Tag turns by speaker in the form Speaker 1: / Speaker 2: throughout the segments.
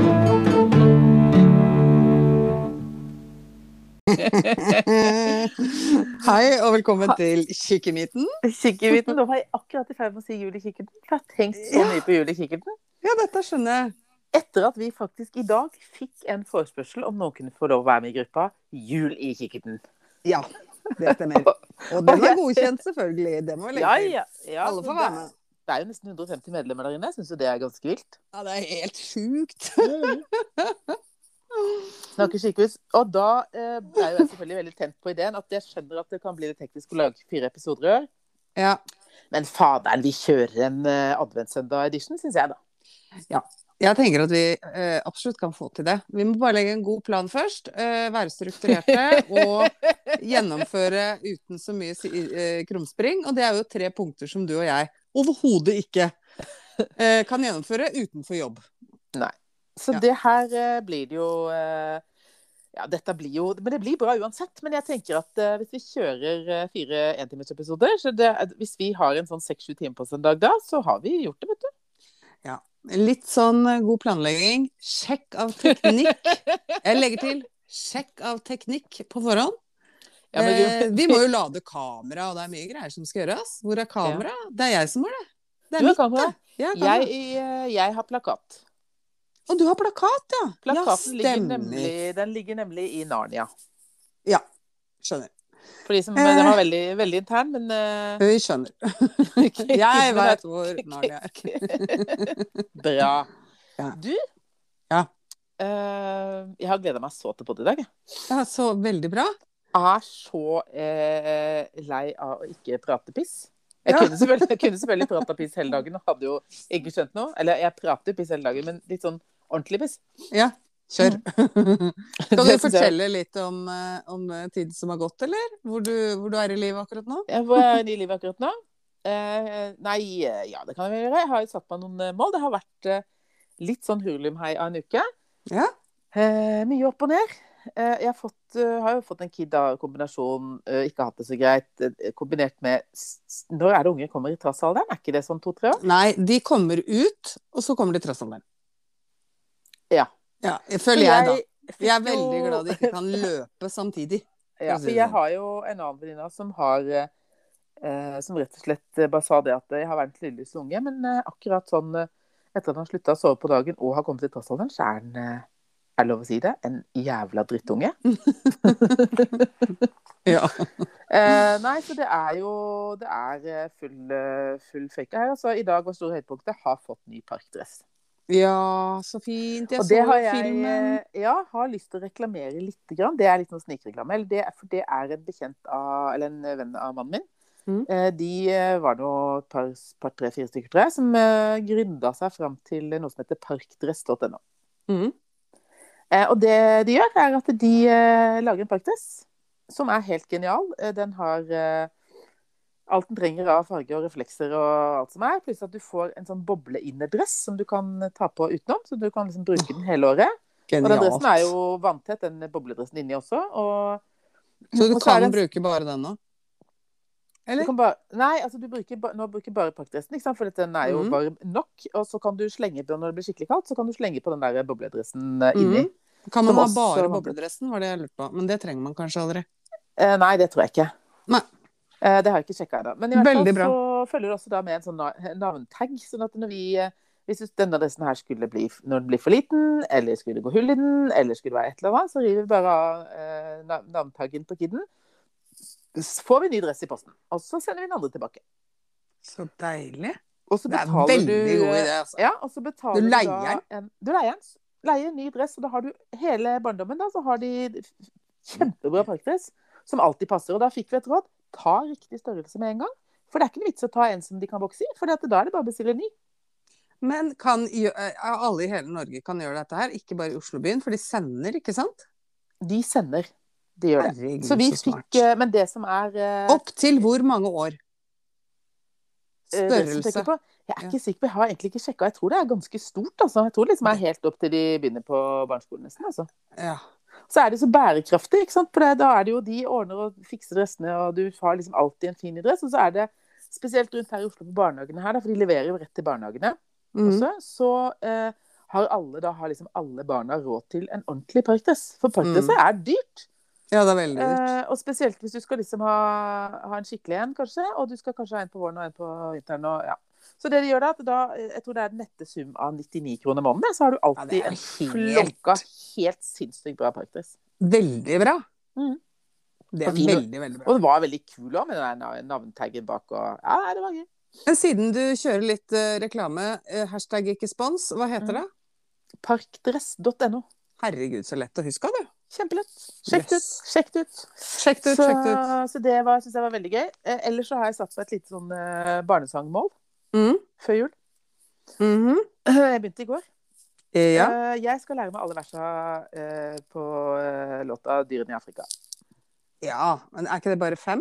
Speaker 1: Hei, og velkommen til Kikkemiten.
Speaker 2: Kikkerten. Nå var jeg akkurat i ferd med å si julekikkerten. For jeg har tenkt så
Speaker 1: Ja.
Speaker 2: mye på julekikkerten.
Speaker 1: Ja, dette skjønner jeg.
Speaker 2: Etter at vi faktisk i dag fikk en forespørsel om noen kunne få lov å være med i gruppa Jul i kikkerten.
Speaker 1: Ja, det stemmer. Og den er godkjent, selvfølgelig. Det må vi legge
Speaker 2: Ja,
Speaker 1: til.
Speaker 2: ja, ja.
Speaker 1: Alle får være med.
Speaker 2: Det er jo nesten 150 medlemmer der inne. Jeg syns jo det er ganske vilt.
Speaker 1: Ja, det er helt sjukt.
Speaker 2: Snakker sykehus. Og da eh, er jo jeg selvfølgelig veldig tent på ideen at jeg skjønner at det kan bli litt teknisk å lage fire episoder i år.
Speaker 1: Ja,
Speaker 2: Men faderen, vi kjører en eh, adventssøndag-edition, syns jeg, da.
Speaker 1: jeg tenker at vi eh, absolutt kan få til det. Vi må bare legge en god plan først. Eh, være strukturerte og gjennomføre uten så mye si eh, krumspring. Og det er jo tre punkter som du og jeg overhodet ikke eh, kan gjennomføre utenfor jobb.
Speaker 2: Så
Speaker 1: Ja.
Speaker 2: det her eh, blir det jo eh, Ja, dette blir jo Men det blir bra uansett. Men jeg tenker at eh, hvis vi kjører eh, fire entimersepisoder så det, er- Hvis vi har en sånn seks-sju timer på oss en dag da, så har vi gjort det, vet du.
Speaker 1: Litt sånn eh, god planlegging. Sjekk av teknikk. Jeg legger til sjekk av teknikk på forhånd.
Speaker 2: Ja, men
Speaker 1: eh,
Speaker 2: du,
Speaker 1: vi må jo lade kamera, og det er mye greier som skal gjøres. Hvor er kamera? Det er jeg som har det. Det er
Speaker 2: du har
Speaker 1: mitt.
Speaker 2: kamera.
Speaker 1: Jeg har kamera.
Speaker 2: Jeg, eh, jeg har plakat.
Speaker 1: Og du har plakat, ja. ja,
Speaker 2: Plakaten ligger,
Speaker 1: stemmer.
Speaker 2: nemlig, den ligger nemlig i Narnia.
Speaker 1: Skjønner.
Speaker 2: For de som,
Speaker 1: Eh.
Speaker 2: Den var veldig, veldig intern, men eh,
Speaker 1: Vi skjønner. Jeg vet hvor Narnia er.
Speaker 2: Bra.
Speaker 1: Ja.
Speaker 2: Du?
Speaker 1: Ja.
Speaker 2: eh, jeg har gleda meg så til både i dag. jeg.
Speaker 1: Ja, så veldig bra.
Speaker 2: er så eh, lei av å ikke prate piss. Jeg,
Speaker 1: Ja.
Speaker 2: kunne selvfølgelig, jeg kunne selvfølgelig prata piss hele dagen og hadde jo ikke skjønt noe. Eller jeg prater jo piss hele dagen, men litt sånn ordentlig piss.
Speaker 1: Ja, kjør.
Speaker 2: Mm. Det
Speaker 1: Skal du
Speaker 2: synes jeg-
Speaker 1: fortelle litt om, eh, om eh, tiden som har gått, eller? Hvor du, hvor du er i livet akkurat nå?
Speaker 2: Jeg var ny i livet akkurat nå. Eh, nei, eh, ja, det kan jeg vel gjøre. Jeg har jo satt meg noen eh, mål. Det har vært eh, litt sånn hurlumhei av en uke.
Speaker 1: Ja.
Speaker 2: Eh, mye opp og ned. Eh, jeg har, fått, eh, har jo fått en kid av kombinasjon, eh, ikke hatt det så greit, eh, kombinert med s- s- Når er det unger kommer i trassalderen? Er ikke det sånn to-tre år?
Speaker 1: Nei, de kommer ut, og så kommer de trassalderen.
Speaker 2: Ja.
Speaker 1: ja. Føler jeg, da.
Speaker 2: fikk
Speaker 1: Jeg er
Speaker 2: jo-
Speaker 1: veldig glad de ikke kan løpe samtidig.
Speaker 2: Ja, for jeg har jo en annen venninne av som har eh, eh, Som rett og slett eh, bare sa det at eh, jeg har verdens lilleste unge, men eh, akkurat sånn eh, etter at han slutta å sove på dagen og har kommet i trassalderen, så er han eh, Er det lov å si det? En jævla drittunge.
Speaker 1: Ja.
Speaker 2: Eh, nei, så det er jo Det er eh, full, eh, full fake her. Altså, I dag var store høydepunktet. Jeg har fått ny parkdress.
Speaker 1: Ja, så fint. Jeg
Speaker 2: Og det
Speaker 1: så
Speaker 2: har jeg
Speaker 1: filmen.
Speaker 2: eh, ja, har lyst til å reklamere litt. Grann. Det er litt sånn snikreklame. eller Det, er- for det er en bekjent av, eller en eh, venn av mannen min.
Speaker 1: Mm.
Speaker 2: Eh, De eh, var nå et par, par tre-fire stykker, tror jeg, som eh, gründa seg fram til noe som heter parkdress.no.
Speaker 1: Mhm.
Speaker 2: Eh, Og det de gjør, er at de eh, lager en parkdress som er helt genial. Eh, Den har eh, alt den trenger av farge og reflekser og alt som er. Pluss at du får en sånn bobleinnerdress som du kan ta på utenom. Så du kan liksom bruke den hele året. Og den dressen er jo vanntett, den bobledressen inni også. Og
Speaker 1: Så du
Speaker 2: og så er
Speaker 1: kan
Speaker 2: det en-
Speaker 1: bruke bare den nå?
Speaker 2: du
Speaker 1: Eller?
Speaker 2: kan bare, nei, altså du bruker, ba- nå bruker bare parkdressen, ikke sant? for dette, den er jo
Speaker 1: Mhm.
Speaker 2: varm nok. Og så kan du slenge på, når det blir skikkelig kaldt, så kan du slenge på den der bobledressen eh, inni.
Speaker 1: Mhm. Kan man
Speaker 2: Som
Speaker 1: ha
Speaker 2: også-
Speaker 1: bare bobledressen, var det jeg lurte på. Men det trenger man kanskje aldri.
Speaker 2: Eh, nei, det tror jeg ikke.
Speaker 1: Nei.
Speaker 2: Eh, det har jeg ikke sjekka ennå. Men i hvert
Speaker 1: Veldig
Speaker 2: fall
Speaker 1: bra.
Speaker 2: så følger det også da med en sånn na- navntag. Sånn at når vi eh, Hvis denne adressen her skulle bli når den blir for liten, eller skulle det gå hull i den, eller skulle det være et eller annet, så river vi bare av eh, nav- navntaggen på kiden. Så får vi ny dress i posten. Og så sender vi den andre tilbake.
Speaker 1: Så deilig.
Speaker 2: Og så
Speaker 1: Det er en
Speaker 2: betaler
Speaker 1: veldig
Speaker 2: du
Speaker 1: god
Speaker 2: eh,
Speaker 1: idé, altså.
Speaker 2: Ja, og så betaler
Speaker 1: Du
Speaker 2: da
Speaker 1: leier
Speaker 2: en, du leier den. Leier en ny dress, og da har du hele barndommen, da, så har de kjempebra parkdress som alltid passer. Og da fikk vi et råd ta riktig størrelse med en gang. For det er ikke noe vits å ta en som de kan vokse i, for da er det bare å bestille en ny.
Speaker 1: Men kan gjø- eh, alle i hele Norge kan gjøre dette her, ikke bare i Oslobyen, for de sender, ikke sant?
Speaker 2: De sender. De gjør det.
Speaker 1: Herregud,
Speaker 2: Så vi
Speaker 1: smart.
Speaker 2: fikk eh, Men det som er eh,
Speaker 1: Opp til hvor mange år?
Speaker 2: eh, det som
Speaker 1: Størrelse.
Speaker 2: tenker på, Jeg er ikke sikker på, jeg har egentlig ikke sjekka. Jeg tror det er ganske stort. Altså. Jeg tror det liksom er helt opp til de begynner på barneskolen, nesten. Altså.
Speaker 1: Ja.
Speaker 2: så er det så bærekraftig. ikke sant? For det, da er det jo de ordner og fikser dressene, og du har liksom alltid en fin dress. Og så er det spesielt rundt her i Oslo på barnehagene her, da, for de leverer jo rett til barnehagene
Speaker 1: Mhm.
Speaker 2: også, så eh,
Speaker 1: Mm.
Speaker 2: har alle da har liksom alle barna råd til en ordentlig parkdress. For parkdresser er dyrt.
Speaker 1: Ja, det er veldig dyrt.
Speaker 2: Eh, og spesielt hvis du skal liksom ha, ha en skikkelig en, kanskje. Og du skal kanskje ha en på våren og en på vinteren. Og, ja. Så det de gjør da, at da, eh, jeg tror det er den nette sum av 99 kroner måneden, så har du
Speaker 1: Ja,
Speaker 2: alltid
Speaker 1: det er
Speaker 2: en
Speaker 1: jo helt
Speaker 2: klokka helt sinnssykt bra parkdress.
Speaker 1: Veldig bra.
Speaker 2: Mhm.
Speaker 1: Det er
Speaker 2: Og fin.
Speaker 1: veldig, veldig bra.
Speaker 2: Og den var veldig kul òg, med den der navntaggen bak og Ja, nei, det var gøy.
Speaker 1: Men siden du kjører litt eh, reklame, eh, hashtag ikke spons, hva
Speaker 2: Mhm.
Speaker 1: heter det?
Speaker 2: Parkdress.no.
Speaker 1: Herregud, så lett å huske av, du.
Speaker 2: Kjempelett. Sjekk det ut.
Speaker 1: Yes.
Speaker 2: Sjekk det ut.
Speaker 1: Sjekk det ut,
Speaker 2: så,
Speaker 1: sjekk det ut.
Speaker 2: så det var- synes jeg var veldig gøy. Eh, ellers så har jeg satt meg et lite sånn eh, barnesangmål
Speaker 1: Mhm.
Speaker 2: før jul.
Speaker 1: Mhm.
Speaker 2: Jeg begynte i går.
Speaker 1: Eh, Ja.
Speaker 2: Eh, jeg skal lære meg alle versa eh, på eh, låta 'Dyrene i Afrika'.
Speaker 1: ja. Men er ikke det bare fem?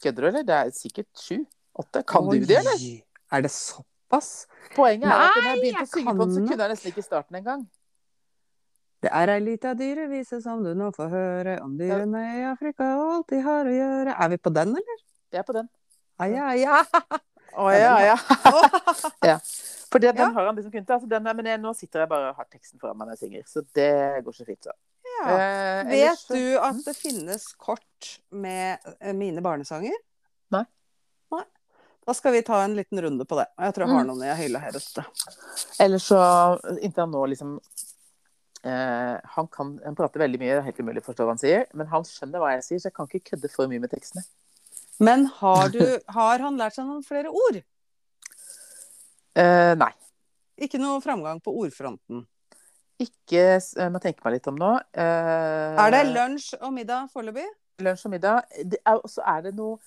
Speaker 2: Kødder du, eller? Det er sikkert sju? Åtte? Kan du det, eller?
Speaker 1: Oi, Er det såpass?
Speaker 2: Poenget er at
Speaker 1: Nei,
Speaker 2: når jeg begynte å
Speaker 1: jeg
Speaker 2: synge på den, så
Speaker 1: kan
Speaker 2: kunne jeg nesten ikke starten engang.
Speaker 1: Det er ei lita dyrevise som du nå får høre om dyrene i Afrika og alt de har å gjøre. Er vi på den, eller?
Speaker 2: Det er på den.
Speaker 1: Ai, ai,
Speaker 2: Eh,
Speaker 1: ai.
Speaker 2: Å
Speaker 1: ja, ja.
Speaker 2: For det, den
Speaker 1: Ja.
Speaker 2: har han liksom kunnet. Altså, den er, men jeg, nå sitter jeg bare og har teksten foran meg når jeg synger, så det går så fint, så.
Speaker 1: Ja.
Speaker 2: Eh, ellers
Speaker 1: Vet
Speaker 2: så-
Speaker 1: du at det finnes kort med eh, mine barnesanger?
Speaker 2: Nei.
Speaker 1: Nei. Da skal vi ta en liten runde på det. Og jeg tror
Speaker 2: Mm.
Speaker 1: jeg har noen jeg hyller her ute.
Speaker 2: Eller så Inntil han nå liksom eh, han, kan, han prater veldig mye, det er helt umulig å forstå hva han sier. Men han skjønner hva jeg sier, så jeg kan ikke kødde for mye med tekstene.
Speaker 1: Men har, du, har han lært seg noen flere ord?
Speaker 2: Eh, nei.
Speaker 1: Ikke noe framgang på ordfronten.
Speaker 2: Ikke s- Jeg må tenke meg litt om nå. Eh,
Speaker 1: Er det lunsj og middag foreløpig?
Speaker 2: lunsj og middag? Det er- Og så er det noe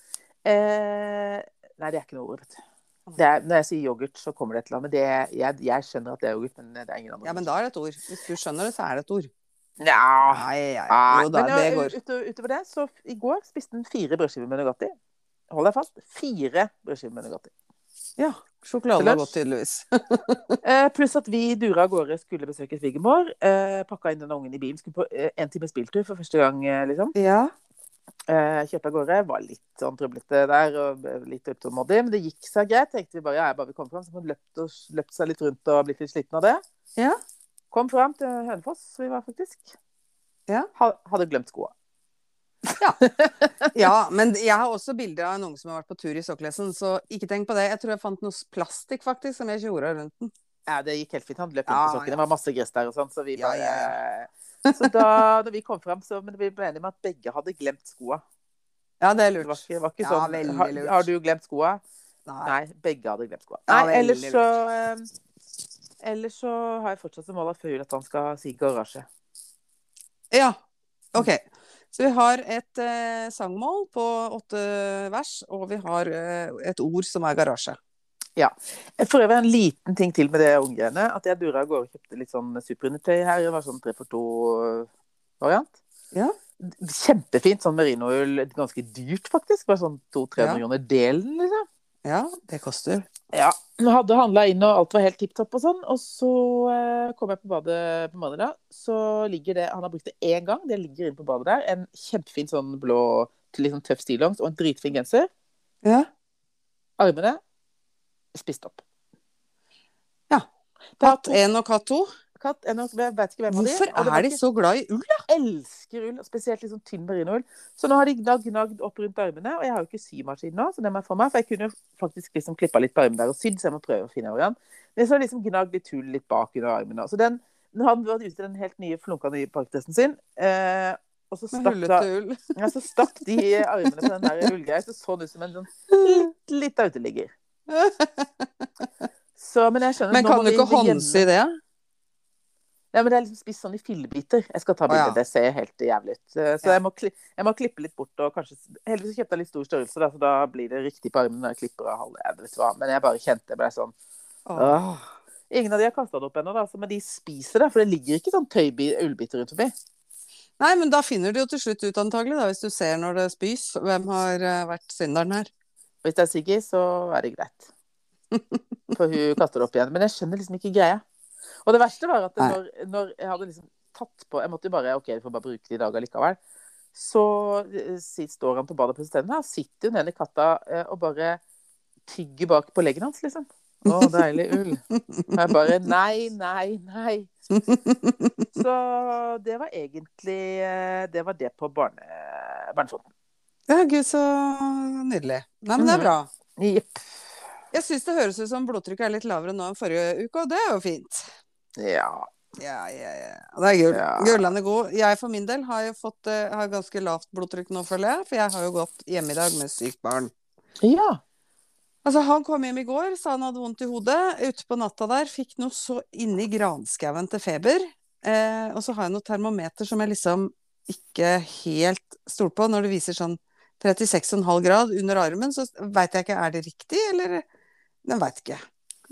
Speaker 2: eh, Nei, det er ikke noe ord, vet du. Det er, når jeg sier yoghurt, så kommer det et eller annet. Men det, jeg, jeg skjønner at det er yoghurt, men det er ingen andre.
Speaker 1: Ja, men da er det et ord. Hvis du skjønner det, så er det et ord.
Speaker 2: Nja.
Speaker 1: Nei, ja, ja.
Speaker 2: Nei,
Speaker 1: Jo da,
Speaker 2: Ah. men eh,
Speaker 1: det
Speaker 2: ja,
Speaker 1: går.
Speaker 2: Utover, utover det, så f- i går spiste den fire brødskiver med Nugatti. Hold deg fast. Fire brødskiver med Nugatti.
Speaker 1: Ja, sjokolade
Speaker 2: Til
Speaker 1: har
Speaker 2: lunsj?
Speaker 1: gått tydeligvis.
Speaker 2: Eh, pluss at vi dura av gårde, skulle besøke svigermor. Eh, pakka inn den ungen i bilen. Skulle på eh, en times biltur for første gang, eh, liksom.
Speaker 1: Ja.
Speaker 2: Eh, kjørte av gårde. Var litt sånn trøblete der, og ble litt utålmodig. Men det gikk seg greit. Tenkte vi bare ja, bare vi kom fram, så man løpt, og, løpt seg litt rundt og blitt litt sliten av det.
Speaker 1: Ja.
Speaker 2: Kom fram til Hønefoss, vi var faktisk.
Speaker 1: Ja.
Speaker 2: Ha, hadde glemt skoa.
Speaker 1: Ja, men jeg har også bilde av en unge som har vært på tur i sokkelesten, så ikke tenk på det. Jeg tror jeg fant noe plastikk, faktisk, som jeg tjora rundt den.
Speaker 2: Ja, det gikk helt fint. Han løp rundt
Speaker 1: Ja,
Speaker 2: på sokken. Det var masse gress der og sånn, så vi
Speaker 1: Ja,
Speaker 2: bare
Speaker 1: ja,
Speaker 2: Så da når vi kom fram, så Men vi ble enige med at begge hadde glemt skoa.
Speaker 1: Ja, det er
Speaker 2: Det var
Speaker 1: lurt.
Speaker 2: ikke, det var ikke
Speaker 1: Ja,
Speaker 2: sånn
Speaker 1: veldig
Speaker 2: har,
Speaker 1: lurt.
Speaker 2: har du glemt skoa?
Speaker 1: Nei.
Speaker 2: Nei, begge hadde glemt skoa. Nei,
Speaker 1: Ja, veldig
Speaker 2: ellers så eh, Ellers så har jeg fortsatt som mål at før jul at han skal si garasje.
Speaker 1: Ja, ok. Så vi har et eh, sangmål på åtte vers, og vi har eh, et ord som er garasje.
Speaker 2: For øvrig en liten ting til med det unggreiene. At jeg dura av gårde og kjøpte litt sånn superundertøy her. Det var sånn tre for to-variant.
Speaker 1: Ja.
Speaker 2: Kjempefint sånn merinoull. Ganske dyrt, faktisk. Bare sånn 200-300
Speaker 1: Ja.
Speaker 2: kroner delen, liksom.
Speaker 1: Ja, det koster.
Speaker 2: Ja, jeg hadde handla inn, og alt var helt tipp topp og sånn. Og så eh, kom jeg på badet på mandag, så ligger det Han har brukt det én gang, det ligger inne på badet der. En kjempefin sånn blå, litt sånn tøff stillongs og en dritfin genser.
Speaker 1: Ja.
Speaker 2: Armene spist opp.
Speaker 1: Ja.
Speaker 2: Det er
Speaker 1: Katt én og katt to.
Speaker 2: katt, en av- jeg vet ikke hvem av de.
Speaker 1: Hvorfor
Speaker 2: og det var
Speaker 1: er de
Speaker 2: ikke-
Speaker 1: så glad i ull?
Speaker 2: elsker ull, og spesielt litt sånn tynn merinoull. Så nå har de gnagd gnagd opp rundt armene, og jeg har jo ikke symaskin nå, så det må jeg få meg. For jeg kunne faktisk liksom klippa litt på armen der og sydd, så jeg må prøve å finne organ. Men så har jeg liksom gnagd litt hull litt bak under armene. Så den, nå har han vært ute i den helt nye flunka nye parkdressen sin. Eh, og så
Speaker 1: Med
Speaker 2: stakk, da,
Speaker 1: hullete ull.
Speaker 2: ja, så stakk de armene på den der ullgreia, så så den ut som en sånn litt, litt uteligger. Så, men jeg skjønner
Speaker 1: Men
Speaker 2: nå må
Speaker 1: kan du
Speaker 2: vi
Speaker 1: ikke
Speaker 2: gjennom-
Speaker 1: håndsi det?
Speaker 2: Ja, men det er liksom spist sånn i fillebiter. Jeg skal ta
Speaker 1: Å, ja.
Speaker 2: bilde, det ser helt jævlig ut. Eh, Så
Speaker 1: Ja.
Speaker 2: jeg, må kli jeg må klippe litt bort og kanskje Heldigvis kjøpte jeg litt stor størrelse, da, så da blir det riktig på armen når jeg klipper av halve. Jeg vet hva, men jeg bare kjente jeg ble sånn
Speaker 1: Åh.
Speaker 2: Åh. Ingen av de har kasta det opp ennå, da, så- men de spiser det. For det ligger ikke sånn tøybi- ullbiter rundt forbi.
Speaker 1: Nei, men da finner du jo til slutt ut antagelig, da, hvis du ser når det spys, hvem har eh, vært synderen her.
Speaker 2: Hvis det er Siggy, så er det greit. For hun kaster det opp igjen. Men jeg skjønner liksom ikke greia. Og det verste var at
Speaker 1: Nei.
Speaker 2: når, når jeg hadde liksom tatt på Jeg måtte jo bare OK, vi får bare bruke de dager likevel. Så eh, sit- står han på badet og pusser tennene. Her sitter jo den ene katta eh, og bare tygger bak på leggen hans, liksom. Å, deilig ull. Og jeg bare nei, nei, nei. Så det var egentlig eh, Det var det på barne, barnefoten.
Speaker 1: Ja, gud, så nydelig. Nei, men det er bra.
Speaker 2: Jepp.
Speaker 1: Mhm. Jeg syns det høres ut som blodtrykket er litt lavere nå enn forrige uke, og det er jo fint.
Speaker 2: Ja.
Speaker 1: Ja, ja, ja. Det er gull.
Speaker 2: Ja.
Speaker 1: Gulland er god. Jeg for min del har jo fått eh, har ganske lavt blodtrykk nå, føler jeg. For jeg har jo gått hjemme i dag med sykt barn.
Speaker 2: Ja.
Speaker 1: Altså, han kom hjem i går, sa han hadde vondt i hodet. Ute på natta der fikk noe så inni granskauen til feber. Eh, og så har jeg noe termometer som jeg liksom ikke helt stoler på. Når det viser sånn 36,5 grad under armen, så veit jeg ikke er det riktig, eller Den veit ikke.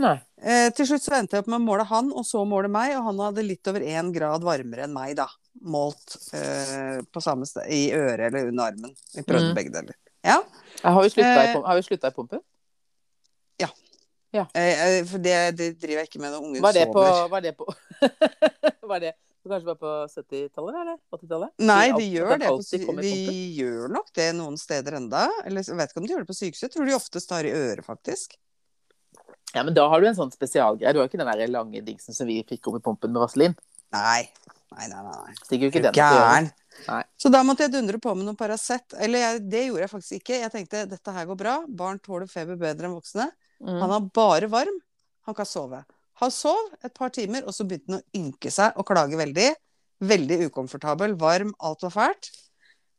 Speaker 2: Nei.
Speaker 1: Eh, til slutt så endte jeg opp med å måle han, og så måle meg, og han hadde litt over én grad varmere enn meg, da. Målt eh, på samme sted, i øret eller under armen. Vi prøvde
Speaker 2: Mm.
Speaker 1: begge deler.
Speaker 2: Jeg har vi slutta i
Speaker 1: Eh.
Speaker 2: pum- har vi slutta i pumpen?
Speaker 1: Eh, eh, for det, det driver jeg ikke med når ungen
Speaker 2: Var det på,
Speaker 1: sover.
Speaker 2: var det på var det, Kanskje bare på 70-tallet, eller? 80-tallet?
Speaker 1: Nei,
Speaker 2: Alt-
Speaker 1: de gjør
Speaker 2: den
Speaker 1: det. På,
Speaker 2: alltid
Speaker 1: sy-
Speaker 2: kom i
Speaker 1: de
Speaker 2: pumpen?
Speaker 1: gjør nok det noen steder enda. Eller jeg vet ikke om de gjør det på sykehuset. Jeg tror de oftest tar i øret, faktisk.
Speaker 2: Ja, men da har du en sånn spesialgreie. Du har ikke den der lange dingsen som vi fikk om i pumpen med vaselin.
Speaker 1: Nei. Nei, nei, nei. nei.
Speaker 2: Stikker jo ikke
Speaker 1: Er du
Speaker 2: den opp i øret.
Speaker 1: Gæren.
Speaker 2: Nei.
Speaker 1: Så da måtte jeg dundre på med noe Paracet. Eller jeg, det gjorde jeg faktisk ikke. Jeg tenkte dette her går bra. Barn tåler feber bedre enn voksne.
Speaker 2: Mm.
Speaker 1: Han var bare varm. Han kan sove. Han sov et par timer, og så begynte han å ynke seg og klage veldig. Veldig ukomfortabel, varm, alt var fælt.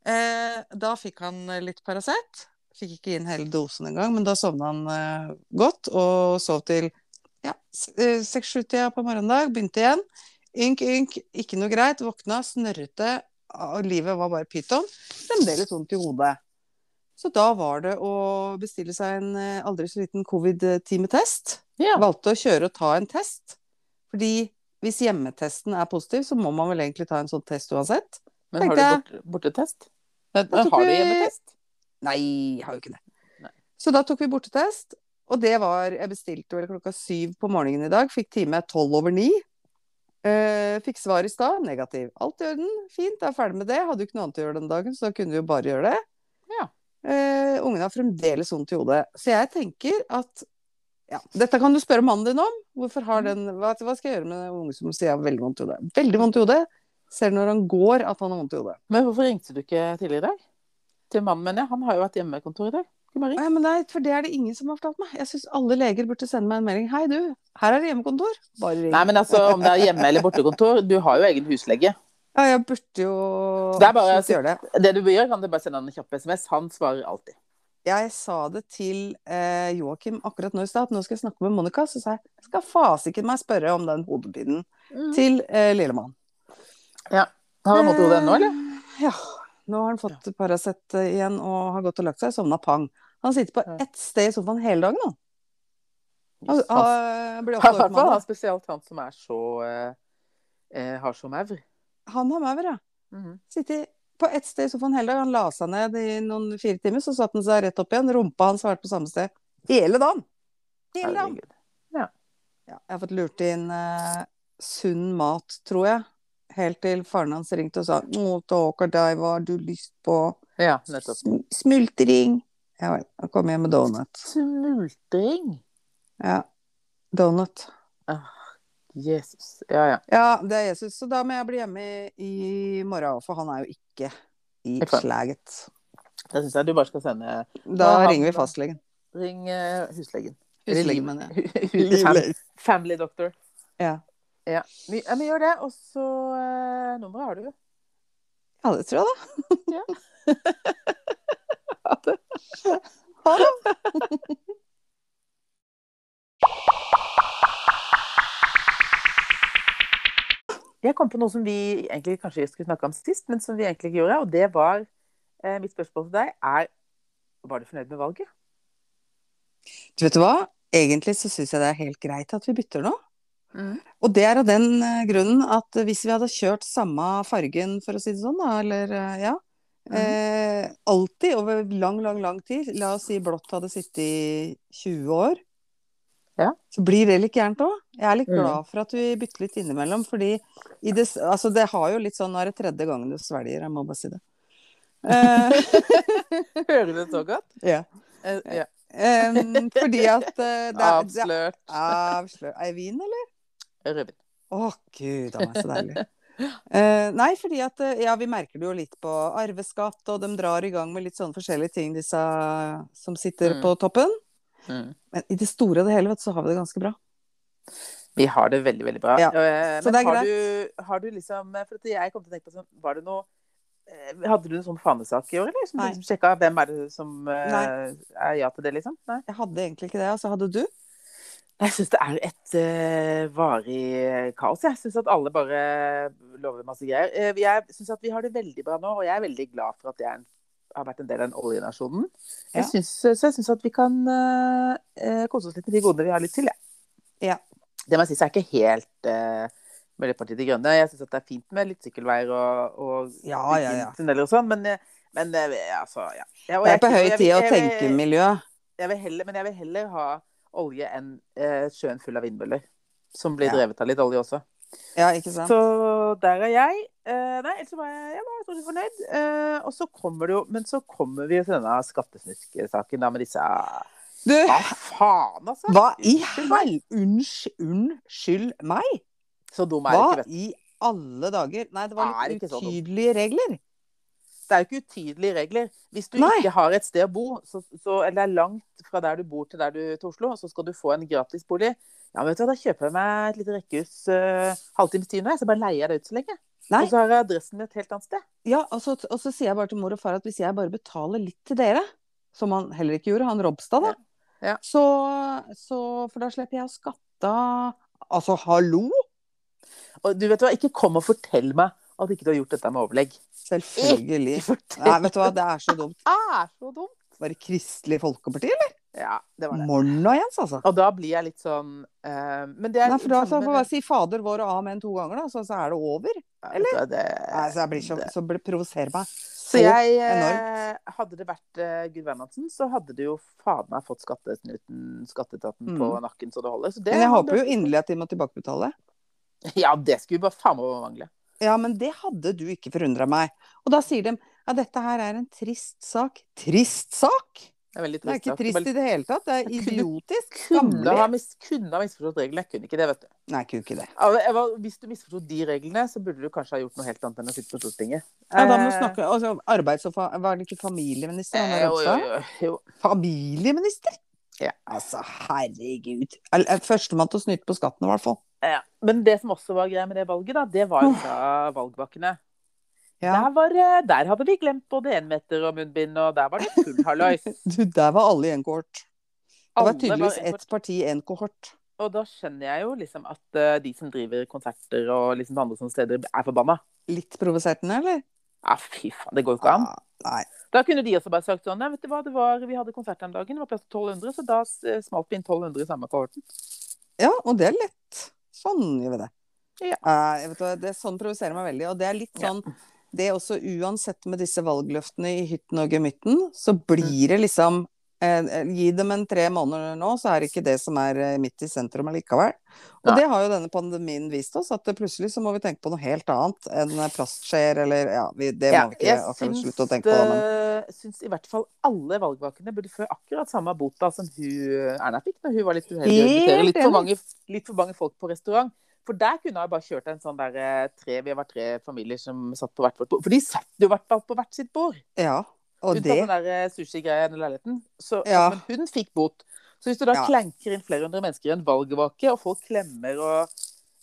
Speaker 1: Eh, da fikk han eh, litt Paracet. Fikk ikke inn hele dosen engang, men da sovna han eh, godt og sov til ja, eh, seks-sju-tida på morgendag. Begynte igjen. Ynk, ynk, ikke noe greit. Våkna, snørrete, Ah, og livet var bare pyton. Fremdeles vondt i hodet. Så da var det å bestille seg en eh, aldri så liten covid-timetest.
Speaker 2: Ja.
Speaker 1: Valgte å kjøre og ta en test. Fordi hvis hjemmetesten er positiv, så må man vel egentlig ta en sånn test uansett.
Speaker 2: Men har du
Speaker 1: tenkte
Speaker 2: bort, bortetest? Nei,
Speaker 1: tok
Speaker 2: Har du
Speaker 1: vi-
Speaker 2: hjemmetest?
Speaker 1: Nei, har jo ikke det.
Speaker 2: Nei.
Speaker 1: Så da tok vi bortetest, og det var Jeg bestilte vel klokka syv på morgenen i dag, fikk time tolv over ni. Eh, fikk svar i stad, negativ. Alt i orden, fint, da er jeg ferdig med det. Hadde jo ikke noe annet å gjøre den dagen, så da kunne vi jo bare gjøre det.
Speaker 2: Ja.
Speaker 1: Eh, ungene har fremdeles vondt i hodet. Så jeg tenker at ja, Dette kan du spørre mannen din om. Hvorfor har den, hva, hva skal jeg gjøre med en unge som sier jeg har veldig vondt i hodet? Veldig vondt i hodet. Ser du når han går at han har vondt i hodet?
Speaker 2: Men hvorfor ringte du ikke tidligere i dag? Til mannen, mener jeg. Han har jo vært hjemmekontor i dag. Du må ringe.
Speaker 1: Nei, men nei, for det er det ingen som har fortalt meg. Jeg syns alle leger burde sende meg en melding. Hei, du, her er det hjemmekontor. Bare ring.
Speaker 2: Nei, men altså, om det er hjemme- eller bortekontor, du har jo egen huslege.
Speaker 1: Ja, jeg burde jo
Speaker 2: Det er bare å
Speaker 1: absolutt
Speaker 2: si-
Speaker 1: gjøre det.
Speaker 2: Det du bør gjøre, kan du bare sende han en kjapp SMS. Han svarer alltid.
Speaker 1: Jeg sa det til eh, Joakim akkurat nå i stad, at nå skal jeg snakke med Monica. Så sa jeg jeg skal fasiken meg spørre om den hodepinen til eh, lillemann.
Speaker 2: Har han vondt i hodet ennå, eller?
Speaker 1: Eh, Ja. Nå har han fått Paracet eh, igjen og har gått og lagt seg. Sovna pang. Han sitter på
Speaker 2: Ja.
Speaker 1: ett sted i sofaen hele dagen nå. Han,
Speaker 2: Yes, han-
Speaker 1: han blir
Speaker 2: I
Speaker 1: åtte år
Speaker 2: hvert
Speaker 1: på
Speaker 2: fall han
Speaker 1: mandag.
Speaker 2: spesielt han som er så eh, eh, har så maur. altså- Mhm.
Speaker 1: Han har maur, ja. Sitte på ett sted i sofaen hele dagen. Han la seg ned i noen fire timer, så satte han seg rett opp igjen. Rumpa hans har vært på samme sted hele dagen. Hele dagen.
Speaker 2: Herregud.
Speaker 1: Ja, jeg har fått lurt inn eh, sunn mat, tror jeg. Helt til faren hans ringte og sa Å, Tåker deg, hva har du lyst på?
Speaker 2: Ja, nettopp.
Speaker 1: Sm smultring. Ja vel. Han kom hjem med donut.
Speaker 2: Smultring.
Speaker 1: Ja. Donut.
Speaker 2: Jesus. Ja, ja.
Speaker 1: Ja, det er Jesus. Så da må jeg bli hjemme i, i morgen, for han er jo ikke i
Speaker 2: Ikke sant.
Speaker 1: slaget.
Speaker 2: Da syns jeg du bare skal sende
Speaker 1: Da
Speaker 2: Ja, han-
Speaker 1: ringer vi fastlegen.
Speaker 2: Ring eh, huslegen.
Speaker 1: Huslegen, mener jeg.
Speaker 2: Eller fam- Family doctor.
Speaker 1: Ja.
Speaker 2: Ja, vi, ja, vi gjør det. Og så eh, Nummeret har du jo.
Speaker 1: Ja, det tror jeg, da.
Speaker 2: Ha det.
Speaker 1: Ha
Speaker 2: det. Jeg kom på noe som vi egentlig kanskje skulle snakke om sist, men som vi egentlig ikke gjorde. Og det var eh, Mitt spørsmål til deg er Var du fornøyd med valget?
Speaker 1: Du vet du hva? Egentlig så syns jeg det er helt greit at vi bytter nå. Og det er av den eh, grunnen at hvis vi hadde kjørt samme fargen, for å si det sånn, da, eller eh, ja
Speaker 2: Mhm.
Speaker 1: eh, Alltid, over lang, lang, lang tid, la oss si blått hadde sittet i 20 år,
Speaker 2: Ja.
Speaker 1: så blir det litt gærent òg. Jeg er litt
Speaker 2: Mhm.
Speaker 1: glad for at vi bytter litt innimellom, fordi i det, s- altså det har jo litt sånn Nå er det tredje gangen du svelger, jeg må bare si det. Eh,
Speaker 2: Hører du det så godt?
Speaker 1: Ja.
Speaker 2: Eh, ja.
Speaker 1: Em, fordi at eh, det er, det er
Speaker 2: Avslørt.
Speaker 1: Avslør. Er det vin, eller?
Speaker 2: Rødvin.
Speaker 1: Å, gud a meg, så deilig. Eh, nei, fordi at eh, ja, vi merker det jo litt på arveskatt, og de drar i gang med litt sånne forskjellige ting, disse som sitter
Speaker 2: Mm.
Speaker 1: på toppen.
Speaker 2: Mm.
Speaker 1: Men i det store og det hele, vet du, så har vi det ganske bra.
Speaker 2: Vi har det veldig, veldig bra.
Speaker 1: Ja,
Speaker 2: Eh,
Speaker 1: så
Speaker 2: Men
Speaker 1: det er
Speaker 2: har du, har du liksom For at jeg kom til å tenke på sånn Var det noe eh, Hadde du en sånn fanesak i år, eller? Som du
Speaker 1: Nei.
Speaker 2: liksom sjekka hvem er det som eh, er ja til det, liksom? Nei.
Speaker 1: Jeg hadde egentlig ikke det. Altså, hadde du?
Speaker 2: Jeg syns det er et eh, varig kaos. Jeg syns at alle bare lover masse greier. Eh, jeg syns at vi har det veldig bra nå, og jeg er veldig glad for at jeg er en- har vært en del av den oljenasjonen.
Speaker 1: Ja.
Speaker 2: Jeg synes, så jeg syns at vi kan eh, eh, kose oss litt med de godene vi har litt til, jeg.
Speaker 1: Ja.
Speaker 2: Det må jeg si, så er ikke helt eh, Miljøpartiet De Grønne. Jeg syns at det er fint med litt sykkelveier og, og
Speaker 1: Ja, ja, ja.
Speaker 2: tunneler og sånn, men, eh, men eh, altså, ja. Ja, og
Speaker 1: Det
Speaker 2: jeg-
Speaker 1: er på høy
Speaker 2: jeg-
Speaker 1: tid å
Speaker 2: jeg-
Speaker 1: tenke miljø.
Speaker 2: jeg vil heller, men jeg vil heller ha olje enn eh, sjøen full av vindmøller. Som blir
Speaker 1: Ja.
Speaker 2: drevet av litt olje også.
Speaker 1: Ja, ikke sant?
Speaker 2: Så der er jeg. Eh, nei, ellers så var jeg, jeg var stort sett fornøyd. Eh, og så kommer det jo Men så kommer vi jo til denne skattesnusksaken da, med disse Hva
Speaker 1: Du,
Speaker 2: faen, altså!
Speaker 1: hva i hel... Unnskyld, unnskyld meg?
Speaker 2: Så dum er det
Speaker 1: Hva
Speaker 2: ikke, vet
Speaker 1: i alle dager? Nei, det var
Speaker 2: Er
Speaker 1: litt
Speaker 2: ikke så dumt.
Speaker 1: utydelige regler.
Speaker 2: du. Det er jo ikke utydelige regler. Hvis du
Speaker 1: Nei.
Speaker 2: ikke har et sted å bo, så, så, eller det er langt fra der du bor til der du til Oslo, og så skal du få en gratisbolig Ja, men vet du hva, da kjøper jeg meg et lite rekkehus eh, halvtimes tid nå, jeg, så bare leier jeg det ut så lenge.
Speaker 1: Nei,
Speaker 2: Og så har jeg adressen et helt annet sted.
Speaker 1: ja, og så, og så sier jeg bare til mor og far at hvis jeg bare betaler litt til dere, som han heller ikke gjorde, han Robstad, da,
Speaker 2: Ja. Ja.
Speaker 1: Så, så For da slipper jeg å skatte av Altså, hallo?
Speaker 2: Og du vet hva, ikke kom og fortell meg at ikke du har gjort dette med overlegg.
Speaker 1: Selvfølgelig.
Speaker 2: Ikke fortell.
Speaker 1: Nei, vet du hva, det er så dumt.
Speaker 2: Det er så dumt.
Speaker 1: Var det Kristelig Folkeparti, eller?
Speaker 2: Ja, det var det.
Speaker 1: Morna, Jens, altså.
Speaker 2: Og da blir jeg litt sånn eh, Men det er
Speaker 1: Nei, for da så får man
Speaker 2: men-
Speaker 1: bare si 'Fader vår' og 'Amen' to ganger, da, så, så er det over.
Speaker 2: Ja, vet du hva, det,
Speaker 1: Nei, så jeg blir så, så blir- provoserer meg.
Speaker 2: Så jeg eh, Hadde det vært eh, Gud Bernhardsen, så hadde du jo faen meg fått skattesnuten, skatteetaten, på
Speaker 1: Mm.
Speaker 2: nakken så det holder. Så det,
Speaker 1: Men jeg håper jo inderlig at de må tilbakebetale.
Speaker 2: Ja, det skulle bare faen meg mangle.
Speaker 1: Ja, men det hadde du ikke forundra meg. Og da sier de ja, dette her er en trist sak. Trist sak?!
Speaker 2: Det er veldig
Speaker 1: Det er
Speaker 2: trist.
Speaker 1: ikke
Speaker 2: at du
Speaker 1: trist
Speaker 2: bare
Speaker 1: i det hele tatt. Det er
Speaker 2: Jeg kunne-
Speaker 1: idiotisk.
Speaker 2: Kunne ha,
Speaker 1: Skammelig.
Speaker 2: mis, kunne ha misforstått reglene. Jeg kunne ikke det, vet du.
Speaker 1: Nei, kunne ikke det.
Speaker 2: Ja, jeg var- Hvis du misforsto de reglene, så burde du kanskje ha gjort noe helt annet enn å sitte på Stortinget.
Speaker 1: Ja, da må du
Speaker 2: Eh,
Speaker 1: snakke altså, Arbeids- og fa... Var det ikke familieminister? han der
Speaker 2: eh, jo,
Speaker 1: Ropstad?
Speaker 2: jo, jo, jo.
Speaker 1: Familieminister?
Speaker 2: Ja.
Speaker 1: Altså, herregud. Eller, eh, Førstemann til å snyte på skatten, i hvert fall.
Speaker 2: Eh, Men det som også var greia med det valget, da, det var jo fra valgbakkene.
Speaker 1: Ja.
Speaker 2: Der, var, eh, der hadde vi glemt både enmeter og munnbind, og der var det full hallois.
Speaker 1: Du, der var alle i en kohort. Det
Speaker 2: Alle
Speaker 1: var tydeligvis
Speaker 2: var-
Speaker 1: ett parti i en kohort.
Speaker 2: Og da skjønner jeg jo liksom at eh, de som driver konserter og liksom andre sånne steder, er forbanna.
Speaker 1: Litt provoserende, eller?
Speaker 2: Ja, fy faen, det går jo ikke an.
Speaker 1: Ah, nei.
Speaker 2: Da kunne de også bare sagt sånn, nei, vet du hva, det var, vi hadde konsert den dagen, det var plass til 1200, så da eh, smalt vi inn 1200 i samme kohorten.
Speaker 1: Ja, og det er lett. Sånn gjør vi det.
Speaker 2: Ja.
Speaker 1: Eh, jeg vet, hva, det sånn provoserer meg veldig. Og det er litt sånn Det er også uansett med disse valgløftene i hytten og gemytten, så blir det liksom eh, Gi dem en tre måneder nå, så er det ikke det som er eh, midt i sentrum allikevel. Og
Speaker 2: Nei.
Speaker 1: det har jo denne pandemien vist oss, at eh, plutselig så må vi tenke på noe helt annet enn eh, plastskjeer eller Ja, vi, det må vi ikke
Speaker 2: jeg
Speaker 1: akkurat
Speaker 2: syns,
Speaker 1: slutte å tenke på, da, men
Speaker 2: eh, syns i hvert fall alle valgvakene burde få akkurat samme bota som hun eh, Erna fikk når hun var litt uheldig og
Speaker 1: Helt
Speaker 2: inviterer litt, for
Speaker 1: enig.
Speaker 2: mange- litt for mange folk på restaurant. For der kunne jeg bare kjørt en sånn der eh, tre, Vi var tre familier som satt på hvert vårt bord. For de satt jo i hvert fall på hvert sitt bord.
Speaker 1: Ja. Og
Speaker 2: Unntatt
Speaker 1: det
Speaker 2: den der eh, sushigreia i den leiligheten. Så,
Speaker 1: Ja.
Speaker 2: Men hun fikk bot. Så hvis du da
Speaker 1: Ja.
Speaker 2: klenker inn flere hundre mennesker i en valgvake, og folk klemmer og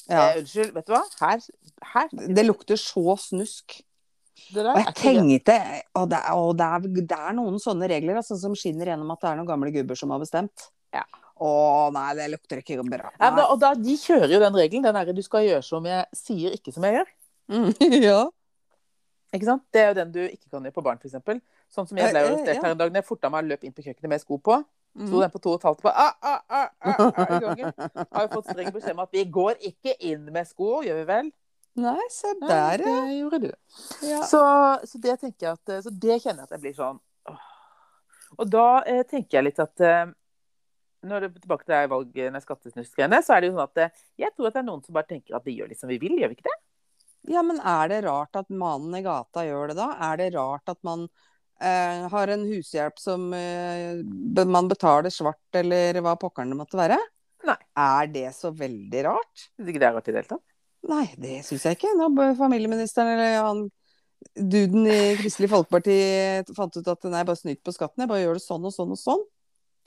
Speaker 1: ja.
Speaker 2: eh, Unnskyld, vet du hva? Her, her
Speaker 1: Det lukter så snusk.
Speaker 2: det der
Speaker 1: Og
Speaker 2: er
Speaker 1: jeg
Speaker 2: ikke greit.
Speaker 1: tenkte Og det, er- og det, er, det er noen sånne regler altså, som skinner gjennom at det er noen gamle gubber som har bestemt.
Speaker 2: Ja.
Speaker 1: Å nei, det lukter ikke bra.
Speaker 2: Ja, men da, og da, de kjører jo den regelen. Den derre 'du skal gjøre som jeg sier, ikke som jeg gjør'.
Speaker 1: Nei. Mm, ja.
Speaker 2: Ikke sant? Det er jo den du ikke kan gjøre på barn, f.eks. Sånn som jeg ble
Speaker 1: Eh, eh,
Speaker 2: arrestert
Speaker 1: ja.
Speaker 2: her en dag når jeg forta meg og løp inn på kjøkkenet med sko på. Sto
Speaker 1: Mm.
Speaker 2: den på to og et halvt på ah, ah, ah, ah, ah, i gangen. Har jo fått streng beskjed om at vi går ikke inn med sko, gjør vi vel?
Speaker 1: Nei, se
Speaker 2: Nei,
Speaker 1: der,
Speaker 2: det gjorde du.
Speaker 1: ja.
Speaker 2: Så, så det tenker jeg at Så det kjenner jeg at jeg blir sånn åh. Og da eh, tenker jeg litt at eh, når det tilbake til det her valgene, skattesnuskgreiene, så er det jo sånn at eh, jeg tror at det er noen som bare tenker at vi gjør litt som vi vil, gjør vi ikke det?
Speaker 1: ja, men er det rart at mannen i gata gjør det da? Er det rart at man eh, har en hushjelp som eh, be- man betaler svart, eller hva pokkeren det måtte være.
Speaker 2: Nei.
Speaker 1: Er det så veldig rart?
Speaker 2: Syns ikke det er rart i det hele tatt.
Speaker 1: Nei, det syns jeg ikke. Nå bør familieministeren eller han duden i Kristelig Folkeparti fant ut at nei, bare snytt på skatten, jeg bare gjør det sånn og sånn og sånn.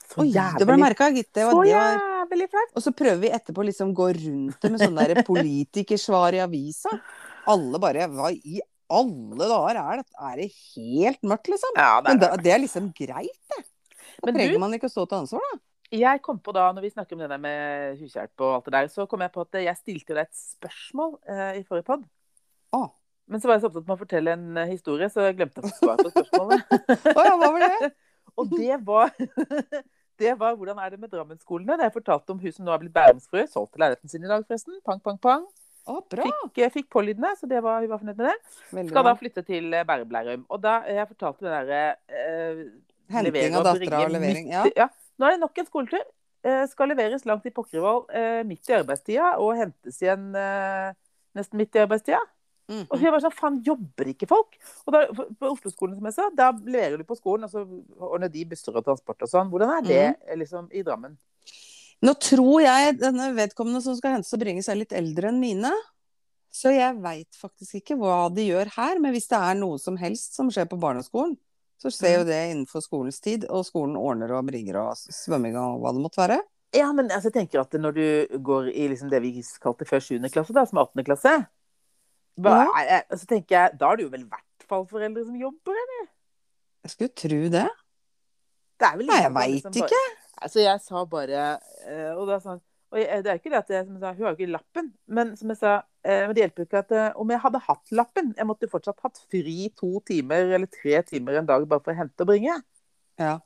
Speaker 2: Så
Speaker 1: Oi, det ble
Speaker 2: jævlig-
Speaker 1: merka, gitt. Det var,
Speaker 2: så
Speaker 1: det var.
Speaker 2: jævlig flaut.
Speaker 1: Og så prøver vi etterpå å liksom gå rundt det med sånne der politikersvar i avisa. Alle bare Hva i alle dager er det? Er det helt mørkt, liksom?
Speaker 2: Ja, det er
Speaker 1: Men da,
Speaker 2: rart.
Speaker 1: det er liksom greit, det. Da
Speaker 2: Men du-
Speaker 1: trenger man ikke å stå til ansvar, da.
Speaker 2: Jeg kom på da, når vi snakker om det der med hushjelp og alt det der, så kom jeg på at eh, jeg stilte jo deg et spørsmål eh, i forrige pod.
Speaker 1: Å.
Speaker 2: Men så var jeg så opptatt med å fortelle en eh, historie, så jeg glemte å få svar på spørsmålet.
Speaker 1: Å ja, hva var det?
Speaker 2: og det var, det var hvordan er det med Drammenskolene? Det jeg fortalte om hun som nå har blitt bærumsfrø, solgte leiligheten sin i dag forresten. Pang, pang, pang.
Speaker 1: Å, bra.
Speaker 2: Ikke fikk pålydende, så det var, hun var fornøyd med det.
Speaker 1: Veldig
Speaker 2: Skal da
Speaker 1: bra.
Speaker 2: flytte til eh, Bærum Lærum. Og da eh, jeg fortalte den derre eh,
Speaker 1: Henting
Speaker 2: levere
Speaker 1: av
Speaker 2: og bringe
Speaker 1: dattera og levering. Ja.
Speaker 2: midt- ja. Nå er det nok en skoletur. Eh, skal leveres langt i Pokkervoll eh, midt i arbeidstida og hentes igjen eh, nesten midt i arbeidstida.
Speaker 1: Mhm.
Speaker 2: Og jeg var sånn, faen, jobber ikke folk? Og da, på på Oslo-skolen, som jeg sa, da leverer du på skolen, og så ordner de busser og transport og sånn. Hvordan er det eh, liksom i Drammen?
Speaker 1: Nå tror jeg denne vedkommende som skal hentes og bringes, er litt eldre enn mine. Så jeg veit faktisk ikke hva de gjør her, men hvis det er noe som helst som skjer på barneskolen, så skjer
Speaker 2: Mm.
Speaker 1: jo det innenfor skolens tid, og skolen ordner og bringer og svømming og hva det måtte være.
Speaker 2: Ja, men altså, jeg tenker at når du går i liksom det vi kalte før 7. klasse, da, som er 8. klasse, hva, er, er- så tenker jeg, da er det jo vel i hvert fall foreldre som jobber,
Speaker 1: Jeg skulle tro det.
Speaker 2: Det er vel
Speaker 1: Nei, jeg
Speaker 2: ingen som
Speaker 1: vet ikke.
Speaker 2: Bare, altså, jeg sa bare eh, Og da sa han og jeg, det er ikke det at jeg, som jeg sa, Hun har jo ikke lappen, men som jeg sa eh, Men det hjelper jo ikke at eh, om jeg hadde hatt lappen Jeg måtte jo fortsatt hatt fri to timer eller tre timer en dag bare for å hente og bringe.
Speaker 1: Ja.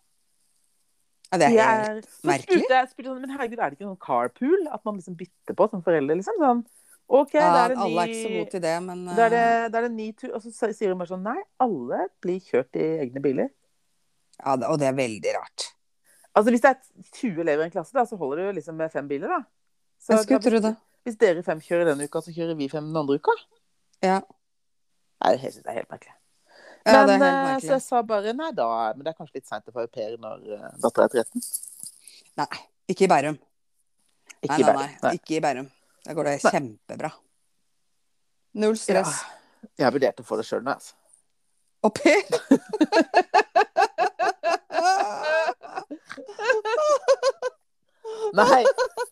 Speaker 1: ja det er helt
Speaker 2: Jeg- så
Speaker 1: merkelig.
Speaker 2: Spurte jeg, spurte, han, men herregud, er det ikke sånn carpool? At man liksom bytter på som forelder? liksom sånn, OK,
Speaker 1: ja,
Speaker 2: da er det
Speaker 1: Alle er ikke så
Speaker 2: ny
Speaker 1: gode til det, men eh,
Speaker 2: da er, det, da er det ny tur. Og så sa- sier hun bare sånn Nei, alle blir kjørt i egne biler.
Speaker 1: ja, det- Og det er veldig rart.
Speaker 2: Altså Hvis det er 20 elever i en klasse, da, så holder det jo liksom med fem biler. da. Så
Speaker 1: Jeg skulle
Speaker 2: da-
Speaker 1: tro det.
Speaker 2: Hvis dere fem kjører denne uka, så kjører vi fem den andre uka.
Speaker 1: Ja.
Speaker 2: Nei, det synes jeg er helt merkelig.
Speaker 1: Ja, det
Speaker 2: men
Speaker 1: er helt
Speaker 2: eh, så
Speaker 1: merkelig.
Speaker 2: jeg sa bare nei da, men det er kanskje litt seint å få au pair når uh, dattera er 13.
Speaker 1: Nei, ikke i Bærum.
Speaker 2: Ikke
Speaker 1: Nei,
Speaker 2: i
Speaker 1: nei,
Speaker 2: verden.
Speaker 1: nei. Ikke i Bærum. Der går det
Speaker 2: Nei.
Speaker 1: kjempebra. Null stress.
Speaker 2: Ja, jeg har vurdert å få det sjøl nå, altså.
Speaker 1: Og Per!
Speaker 2: Nei!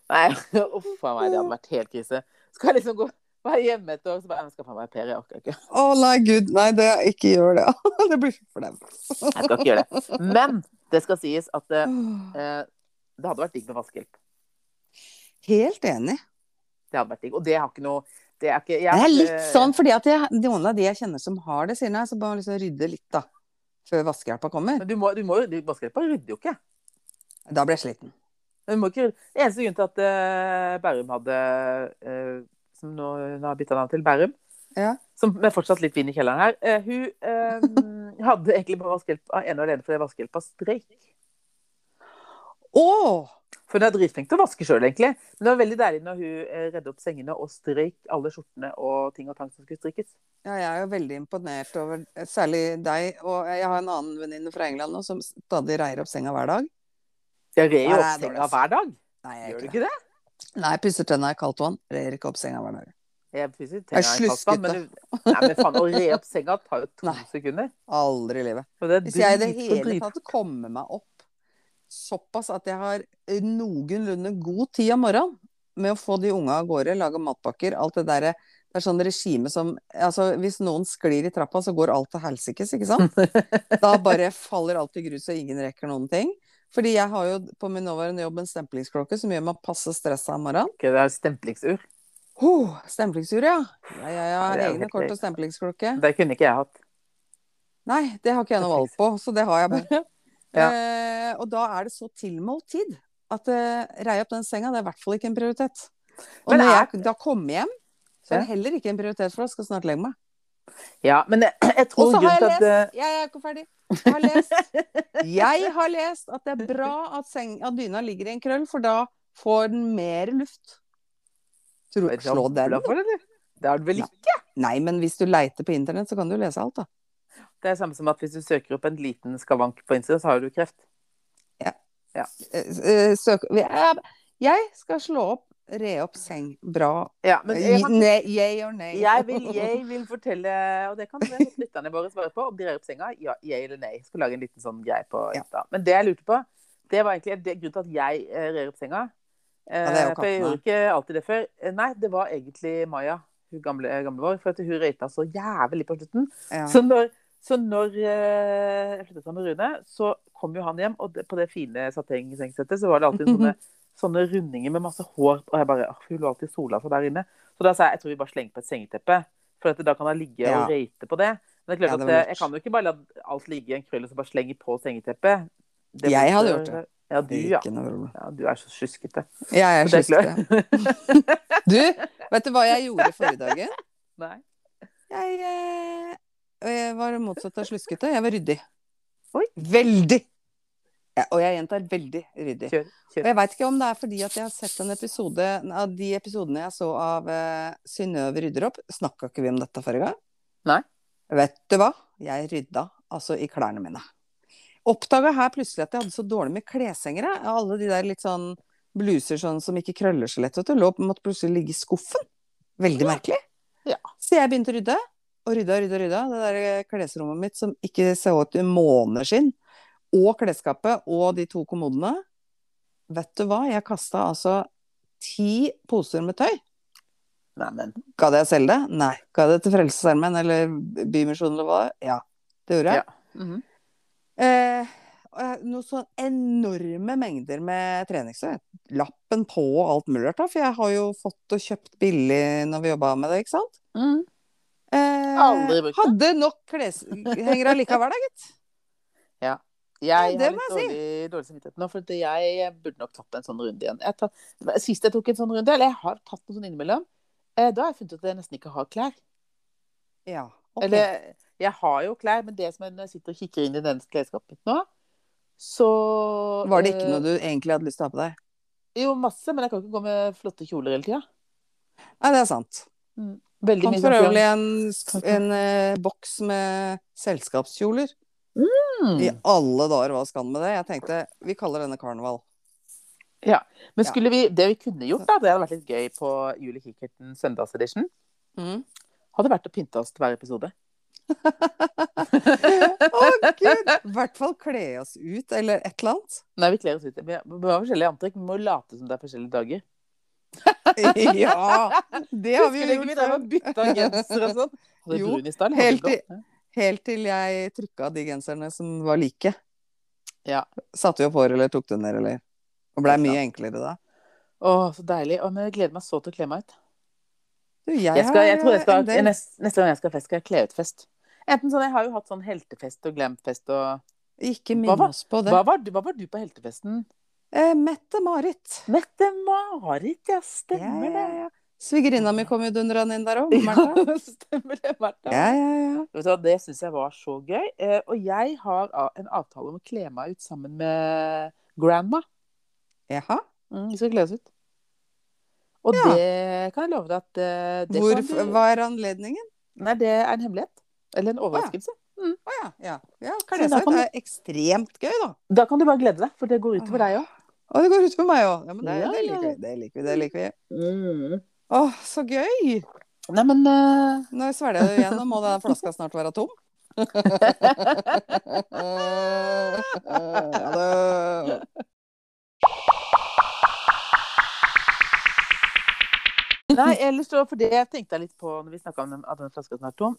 Speaker 2: nei. Uff a meg, det hadde vært helt krise. Skal jeg liksom gå være hjemme et år, så bare Jeg skal faen meg au pair, jeg orker ikke.
Speaker 1: Å nei, gud. Nei, det, ikke gjør det. Det blir for flaut.
Speaker 2: Jeg skal ikke gjøre det. Men det skal sies at eh, eh, det hadde vært digg med vaskehjelp.
Speaker 1: Helt enig.
Speaker 2: Det hadde vært digg. Og det har ikke noe Det er ikke jeg,
Speaker 1: Det
Speaker 2: har
Speaker 1: er
Speaker 2: ikke-
Speaker 1: litt sånn fordi at jeg, noen av de jeg kjenner som har det, sier nei, så bare liksom rydde litt, da. Før vaskehjelpa kommer.
Speaker 2: Men du må, du må, du- vaskehjelpa rydder jo ikke.
Speaker 1: Da blir jeg sliten.
Speaker 2: Men vi må ikke, det eneste grunnen til at eh, Bærum hadde eh, Som nå hun har bytta navn til Bærum,
Speaker 1: Ja.
Speaker 2: som med fortsatt litt vin i kjelleren her eh, Hun eh, hadde egentlig bare vaskehjelp av ene og alene fordi vaskehjelpa streik.
Speaker 1: Å!
Speaker 2: For hun er dritflink til å vaske sjøl, egentlig. Men det var veldig deilig når hun eh, redde opp sengene og strøyk alle skjortene og ting og tang som skulle strikkes.
Speaker 1: Ja, jeg er jo veldig imponert over særlig deg. Og jeg har en annen venninne fra England nå som stadig reier opp senga hver dag.
Speaker 2: Jeg rer jo
Speaker 1: Nei, det er
Speaker 2: opp
Speaker 1: dårlig,
Speaker 2: senga
Speaker 1: ass.
Speaker 2: hver dag.
Speaker 1: Nei, jeg
Speaker 2: Gjør
Speaker 1: gjør
Speaker 2: du
Speaker 1: ikke det.
Speaker 2: ikke det?
Speaker 1: Nei, jeg pusser tenna i kaldt vann. Reier ikke opp senga hver dag.
Speaker 2: Jeg pusser
Speaker 1: Jeg
Speaker 2: tenna i
Speaker 1: slusker
Speaker 2: pasta, men, du- nei, men faen, å re opp senga tar jo to
Speaker 1: Nei.
Speaker 2: sekunder.
Speaker 1: Aldri i livet.
Speaker 2: Og det er
Speaker 1: Hvis jeg i det
Speaker 2: drit- og
Speaker 1: hele
Speaker 2: drit-
Speaker 1: tatt kommer meg opp såpass at jeg har noenlunde god tid om morgenen med å få de unga av gårde, lage matpakker, alt det derre Det er sånn regime som Altså, hvis noen sklir i trappa, så går alt til helsikes, ikke sant? Da bare faller alt i grus, og ingen rekker noen ting. Fordi jeg har jo på min nåværende jobb en stemplingsklokke som gjør meg passe stressa om morgenen.
Speaker 2: Ok, Det er stemplingsur.
Speaker 1: Oh, stemplingsur, ja. Ja, ja, ja.
Speaker 2: Det er jo
Speaker 1: Egne
Speaker 2: helt
Speaker 1: kort
Speaker 2: greit.
Speaker 1: og stemplingsklokke.
Speaker 2: Det kunne ikke jeg hatt.
Speaker 1: Nei, det har ikke jeg noe valg på, så det har jeg bare.
Speaker 2: Ja.
Speaker 1: Eh, og da er det så tilmålt tid at eh, reie opp den senga, det er i hvert fall ikke en prioritet. Og
Speaker 2: Men
Speaker 1: når
Speaker 2: er-
Speaker 1: jeg da kommer hjem, så er det heller ikke en prioritet, for da skal jeg snart legge meg.
Speaker 2: Ja, men jeg, jeg
Speaker 1: Og
Speaker 2: tror
Speaker 1: så har
Speaker 2: grunnen
Speaker 1: jeg
Speaker 2: til at eh,
Speaker 1: lest, jeg er ikke ferdig, jeg har lest, jeg har lest at det er bra at, seng, at dyna ligger i en krøll, for da får den mer luft. Tror,
Speaker 2: Vet du hva
Speaker 1: slå
Speaker 2: jeg
Speaker 1: den.
Speaker 2: jobber for, eller? Det er det vel
Speaker 1: Nei.
Speaker 2: ikke?
Speaker 1: Nei, men hvis du leiter på internett, så kan du lese alt, da.
Speaker 2: Det er samme som at hvis du søker opp en liten skavank på Insta, så har du kreft.
Speaker 1: Eh, Søk Jeg- Jeg skal slå opp, re opp seng. Bra.
Speaker 2: Ja, men jeg, kan,
Speaker 1: Nei, yay or nay?
Speaker 2: jeg, vil, jeg vil fortelle, og det kan vel lytterne våre svare på, om de rer opp senga, ja, ja eller nei. Jeg skal lage en liten sånn greie på
Speaker 1: Ja.
Speaker 2: Insta. Men det jeg lurte på, det var egentlig det, grunnen til at jeg eh, rer opp senga. Eh,
Speaker 1: Ja, det er jo
Speaker 2: for jeg
Speaker 1: kattene.
Speaker 2: gjorde ikke alltid det før. Eh, Nei, det var egentlig Maja, hun gamle, gamle vår, for at hun røyta så jævlig på slutten.
Speaker 1: Ja.
Speaker 2: Så når, så når eh, jeg flyttet sammen med Rune, så kom jo han hjem, og det, på det fine satengsengesettet så var det alltid sånne, sånne rundinger med masse hår. Og jeg bare, «Åh, hun lå alltid sola seg der inne. Så da sa jeg jeg tror vi bare slenger på et sengeteppe, for at da kan han ligge
Speaker 1: Ja.
Speaker 2: og røyte på det. Men det er klart
Speaker 1: Ja, det
Speaker 2: at
Speaker 1: var
Speaker 2: eh,
Speaker 1: lurt.
Speaker 2: jeg kan jo ikke bare la alt ligge i en krøll og så bare slenge på sengeteppet. Det
Speaker 1: Jeg
Speaker 2: blir-
Speaker 1: hadde gjort det.
Speaker 2: Ja, du, ja.
Speaker 1: Ikke noe problem.
Speaker 2: ja. Du er så sjuskete.
Speaker 1: Jeg er
Speaker 2: Så det er
Speaker 1: sjuskete. Du, vet du hva jeg gjorde forrige dagen?
Speaker 2: Nei.
Speaker 1: Jeg, eh, jeg var det motsatte av sluskete. Jeg var ryddig.
Speaker 2: Oi.
Speaker 1: Veldig! Ja, og jeg gjentar veldig ryddig.
Speaker 2: Kjør.
Speaker 1: Og jeg veit ikke om det er fordi at jeg har sett en episode av de episodene jeg så av uh, Synnøve rydder opp. Snakka ikke vi om dette forrige gang?
Speaker 2: Nei.
Speaker 1: Vet du hva? Jeg rydda altså i klærne mine. Oppdaga her plutselig at jeg hadde så dårlig med kleshengere. Alle de der litt sånn bluser sånn som ikke krøller så lett, vet du. Lå, måtte plutselig ligge i skuffen. Veldig merkelig.
Speaker 2: Ja.
Speaker 1: Så jeg begynte å rydde. Og rydda, rydda, rydda. Det der eh, klesrommet mitt som ikke så ut i måneskinn. Og klesskapet og de to kommodene. Vet du hva, jeg kasta altså ti poser med tøy.
Speaker 2: Nei, men.
Speaker 1: Ga det jeg selge det? Nei. Ga det til Frelsesarmeen eller Bymisjonen eller hva? Ja, det gjorde jeg.
Speaker 2: Mhm.
Speaker 1: Eh, og jeg- noe sånn enorme mengder med treningstøy. Lappen på og alt mulig rart, da. For jeg har jo fått og kjøpt billig når vi jobba med det, ikke sant?
Speaker 2: Mhm.
Speaker 1: Eh,
Speaker 2: Aldri brukt det.
Speaker 1: Hadde nok kleshengere allikevel, da, gitt.
Speaker 2: Jeg
Speaker 1: Ja, det
Speaker 2: har litt
Speaker 1: må jeg
Speaker 2: dårlig, dårlig samvittighet nå, for at jeg burde nok tatt en sånn runde igjen. Jeg tar, sist jeg tok en sånn runde, eller jeg har tatt noe sånn innimellom, eh, da har jeg funnet ut at jeg nesten ikke har klær.
Speaker 1: Ja. ok.
Speaker 2: Eller jeg har jo klær, men det som jeg, når jeg sitter og kikker inn i denne klesskapet mitt nå, så
Speaker 1: Var
Speaker 2: eh,
Speaker 1: det ikke noe du egentlig hadde lyst til å ha på deg?
Speaker 2: Jo, masse, men jeg kan ikke gå med flotte kjoler hele tida.
Speaker 1: Nei, det er sant.
Speaker 2: Mm. Veldig
Speaker 1: Fant
Speaker 2: mye
Speaker 1: for
Speaker 2: sånn
Speaker 1: øvrig en, en eh, boks med selskapskjoler.
Speaker 2: Mm.
Speaker 1: I alle dager, hva skal han med det? Jeg tenkte, vi kaller denne karneval.
Speaker 2: Men skulle vi, det vi kunne gjort, da, det hadde vært litt gøy på Juli Kikkerten søndagsedition,
Speaker 1: Mm.
Speaker 2: hadde vært å pynte oss til hver episode.
Speaker 1: Å, gud! I hvert fall kle oss ut, eller et eller annet.
Speaker 2: Nei, vi kler oss ut. Vi vi må ha forskjellige antrekk. Vi må late som det er forskjellige dager.
Speaker 1: Ja! Det har vi jo
Speaker 2: Husker du ikke vi
Speaker 1: gjort
Speaker 2: drev
Speaker 1: før.
Speaker 2: og bytta genser og sånn? Hadde
Speaker 1: Jo,
Speaker 2: brun i stad, eller
Speaker 1: helt
Speaker 2: hadde du blå?
Speaker 1: Helt til jeg trykka de genserne som var like.
Speaker 2: Ja.
Speaker 1: Satte vi opp hår, eller tok det ned, eller Og blei mye enklere da.
Speaker 2: Å, så deilig. Å, men jeg gleder meg så til å kle meg ut.
Speaker 1: Du, jeg,
Speaker 2: Jeg skal, jeg tror jeg
Speaker 1: har
Speaker 2: skal,
Speaker 1: en del
Speaker 2: neste, neste gang jeg skal ha fest, skal jeg kle ut-fest. Enten sånn, Jeg har jo hatt sånn heltefest og glamfest og
Speaker 1: Ikke
Speaker 2: Hva
Speaker 1: minn
Speaker 2: var-
Speaker 1: oss på det.
Speaker 2: hva var, du, hva var du på heltefesten?
Speaker 1: Eh, Mette-Marit.
Speaker 2: Mette-Marit, ja. Stemmer
Speaker 1: Ja,
Speaker 2: det.
Speaker 1: ja, ja. Svigerinna mi kom jo dundrende inn der òg. Martha.
Speaker 2: Ja, stemmer det, Martha.
Speaker 1: Ja, ja, ja.
Speaker 2: Vet du hva, Det syns jeg var så gøy. Eh, Og jeg har a- en avtale om å kle meg ut sammen med grandma.
Speaker 1: Jaha.
Speaker 2: Mm, vi skal kle oss ut. Og
Speaker 1: Ja.
Speaker 2: det kan jeg love deg at eh, det
Speaker 1: Hvor
Speaker 2: kan du-
Speaker 1: var anledningen?
Speaker 2: Nei, det er en hemmelighet. Eller en overraskelse.
Speaker 1: Å ja. ja. ja
Speaker 2: Så
Speaker 1: Kle
Speaker 2: da
Speaker 1: seg ut
Speaker 2: kan
Speaker 1: Det er ekstremt gøy, da.
Speaker 2: Da kan du bare glede deg, for det går utover deg òg.
Speaker 1: Å, det går utover meg òg. Ja, men det,
Speaker 2: Ja,
Speaker 1: det
Speaker 2: ja.
Speaker 1: liker vi. Det liker vi. det liker vi.
Speaker 2: Mm.
Speaker 1: Å, så gøy!
Speaker 2: Nei, men eh,
Speaker 1: Nå svelger jeg det igjen, og må den flaska snart være tom. ja, det...
Speaker 2: Nei, ellers så For det jeg tenkte jeg litt på når vi snakka om den, at den flaska snart tom.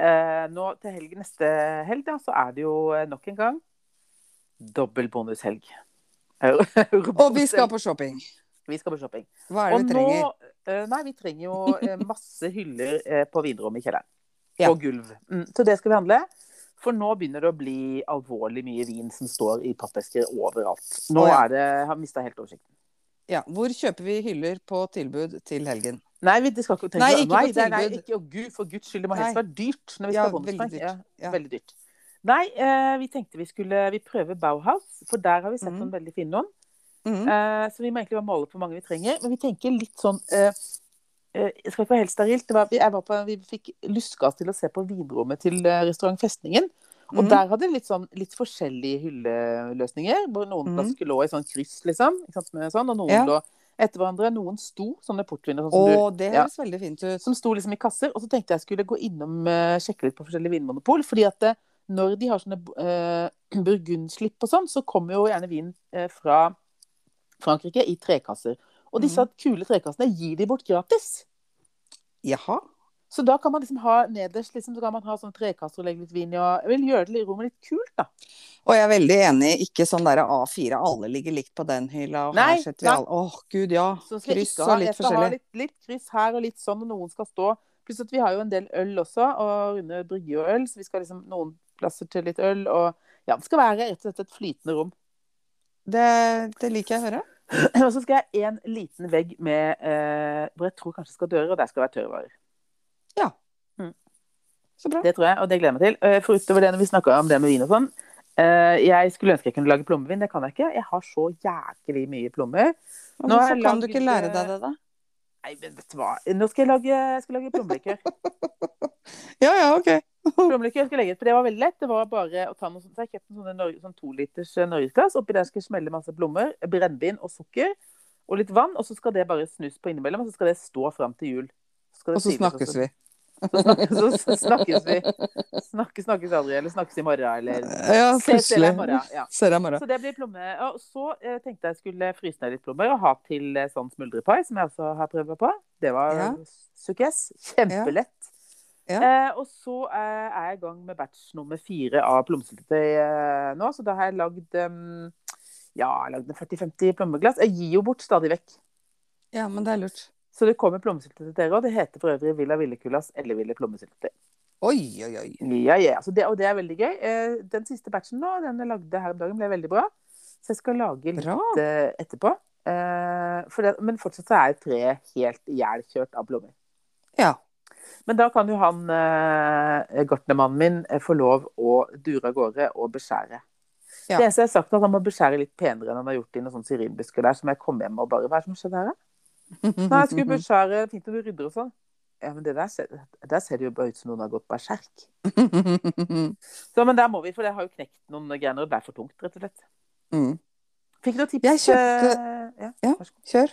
Speaker 2: Eh, nå til helg, neste helg, da, så er det jo eh, nok en gang dobbel bonushelg.
Speaker 1: Og vi skal på shopping.
Speaker 2: vi skal på shopping.
Speaker 1: Hva er det vi trenger?
Speaker 2: nå, eh, nei, vi trenger jo eh, masse hyller eh, på vinrommet i kjelleren.
Speaker 1: Ja.
Speaker 2: Og gulv. Mm, så det skal vi handle. For nå begynner det å bli alvorlig mye vin som står i pappesker overalt. Nå
Speaker 1: Å, ja.
Speaker 2: er det, har vi mista helt oversikten.
Speaker 1: Ja, hvor kjøper vi hyller på tilbud til helgen?
Speaker 2: Nei, vi, det skal ikke tenke
Speaker 1: Nei,
Speaker 2: sånn.
Speaker 1: ikke på
Speaker 2: nei, det er- nei,
Speaker 1: tilbud.
Speaker 2: ikke, å Gud, for guds skyld, det må helst
Speaker 1: Nei.
Speaker 2: være dyrt. Når vi
Speaker 1: Ja,
Speaker 2: skal på
Speaker 1: veldig
Speaker 2: bonusdag.
Speaker 1: dyrt.
Speaker 2: Ja,
Speaker 1: Ja.
Speaker 2: veldig dyrt. Nei, eh, vi tenkte vi skulle vi prøve Bauhaus, for der har vi sett
Speaker 1: Mhm.
Speaker 2: noen veldig fine noen.
Speaker 1: Mm.
Speaker 2: Eh, så vi må egentlig bare måle på hvor mange vi trenger. Men vi tenker litt sånn eh, eh, det skal ikke være helt sterilt. Det var, jeg var på, vi fikk lyska til å se på vinrommet til eh, restaurant Festningen. Og
Speaker 1: Mhm.
Speaker 2: der hadde de litt, sånn, litt forskjellige hylleløsninger. hvor Noen
Speaker 1: Mhm.
Speaker 2: flasker lå i sånn kryss, liksom, ikke sant, med sånn, og noen
Speaker 1: Ja.
Speaker 2: lå etter hverandre. Noen sto, sånne portviner sånn
Speaker 1: Å,
Speaker 2: som du
Speaker 1: det
Speaker 2: ja.
Speaker 1: høres veldig fint ut.
Speaker 2: som sto liksom i kasser. Og så tenkte jeg skulle gå innom eh, sjekke litt på forskjellige vinmonopol. fordi at eh, når de har sånne eh, burgundslipp og sånn, så kommer jo gjerne vin eh, fra Frankrike i trekasser. Og disse kule trekassene gir de bort gratis.
Speaker 1: Jaha.
Speaker 2: Så da kan man liksom ha nederst liksom, så kan man ha sånne trekasser og legge litt vin i. Og jeg vil gjøre det litt- rommet litt kult, da.
Speaker 1: Og jeg er veldig enig. Ikke sånn derre A4, alle ligger likt på den hylla, og
Speaker 2: Nei,
Speaker 1: her setter vi
Speaker 2: nei.
Speaker 1: alle Åh, gud, ja.
Speaker 2: Så skal jeg
Speaker 1: Kryss
Speaker 2: ikke ha,
Speaker 1: og litt
Speaker 2: jeg skal ha
Speaker 1: forskjellig.
Speaker 2: litt, litt kryss her og litt sånn, og noen skal stå. Pluss at vi har jo en del øl også, og Rune brygger jo øl, så vi skal liksom noen plasser til litt øl. Og ja, det skal være rett og slett et flytende rom.
Speaker 1: Det, det liker jeg å høre.
Speaker 2: Og så skal jeg ha en liten vegg med eh, hvor jeg tror kanskje det skal døre, og der skal det være tørrvarer.
Speaker 1: Så bra.
Speaker 2: Det tror jeg, og det gleder jeg meg til. Eh, For utover det når vi snakka om det med vin og sånn eh, Jeg skulle ønske jeg kunne lage plommevin, det kan jeg ikke. Jeg har så jæklig mye plommer.
Speaker 1: Og
Speaker 2: Nå har
Speaker 1: Hvorfor
Speaker 2: jeg eh,
Speaker 1: kan du ikke
Speaker 2: lagd,
Speaker 1: lære deg det, da?
Speaker 2: Nei, men vet du hva. Nå skal jeg lage, jeg skal lage plommelikør.
Speaker 1: Ja, ja, ok.
Speaker 2: Plommelikør skal jeg legge ut, for det var veldig lett. Det var bare å ta noe sånt. Så jeg kjøpte en sånn, Norge, sånn to liters eh, norgesglass. Oppi der skal jeg smelle masse plommer, brennevin og sukker. Og litt vann. Og så skal det bare snus på innimellom, og så skal det stå fram til jul. skal det
Speaker 1: Og så
Speaker 2: siles,
Speaker 1: snakkes vi.
Speaker 2: Så så snakkes vi. Snakkes, snakkes aldri, eller snakkes i morgen, eller
Speaker 1: Ja,
Speaker 2: Se- se deg i
Speaker 1: plutselig.
Speaker 2: morgen. Ja.
Speaker 1: Ser deg i morgen.
Speaker 2: Så det blir plomme. Og så eh, tenkte jeg skulle fryse ned litt plommer og ha til eh, sånn smuldrepai, som jeg også har prøvd meg på. Det var
Speaker 1: Ja.
Speaker 2: sukkes. Kjempelett.
Speaker 1: Ja.
Speaker 2: Eh, og så eh, er jeg i gang med batch nummer fire av plomsyltetøy eh, nå. Så da har jeg lagd em, ja, jeg har lagd en 40-50 plommeglass. Jeg gir jo bort stadig vekk.
Speaker 1: Ja, men det er lurt.
Speaker 2: Så det kommer plommesyltetøy til dere òg. Det heter for øvrig Villa Villekulas eller Ville Plommesyltetøy.
Speaker 1: Oi, oi, oi.
Speaker 2: Ja, ja. Altså det, og det er veldig gøy. Eh, Den siste batchen nå, den jeg lagde her om dagen, ble veldig bra. Så jeg skal lage litt
Speaker 1: Bra.
Speaker 2: eh, etterpå. Eh, For det, men fortsatt så er treet helt ihjelkjørt av blommer.
Speaker 1: Ja.
Speaker 2: Men da kan jo han eh, gartnermannen min eh, få lov å dure av gårde og beskjære.
Speaker 1: Ja.
Speaker 2: Det eneste jeg har sagt, er at han må beskjære litt penere enn han har gjort i noen sånne syrinbusker der, som jeg kom hjem og bare Hva er det som skjedde her, da?
Speaker 1: Mhm,
Speaker 2: Nei, jeg skulle beskjære Fint om du rydder og sånn. Ja, men det der ser, der ser det jo bare ut som noen har gått berserk. Så, men der må vi, for det har jo knekt noen greiner. og Det ble for tungt, rett og slett.
Speaker 1: Mm.
Speaker 2: Fikk du noen tips?
Speaker 1: Jeg kjøpte-
Speaker 2: eh, ja.
Speaker 1: Kjør.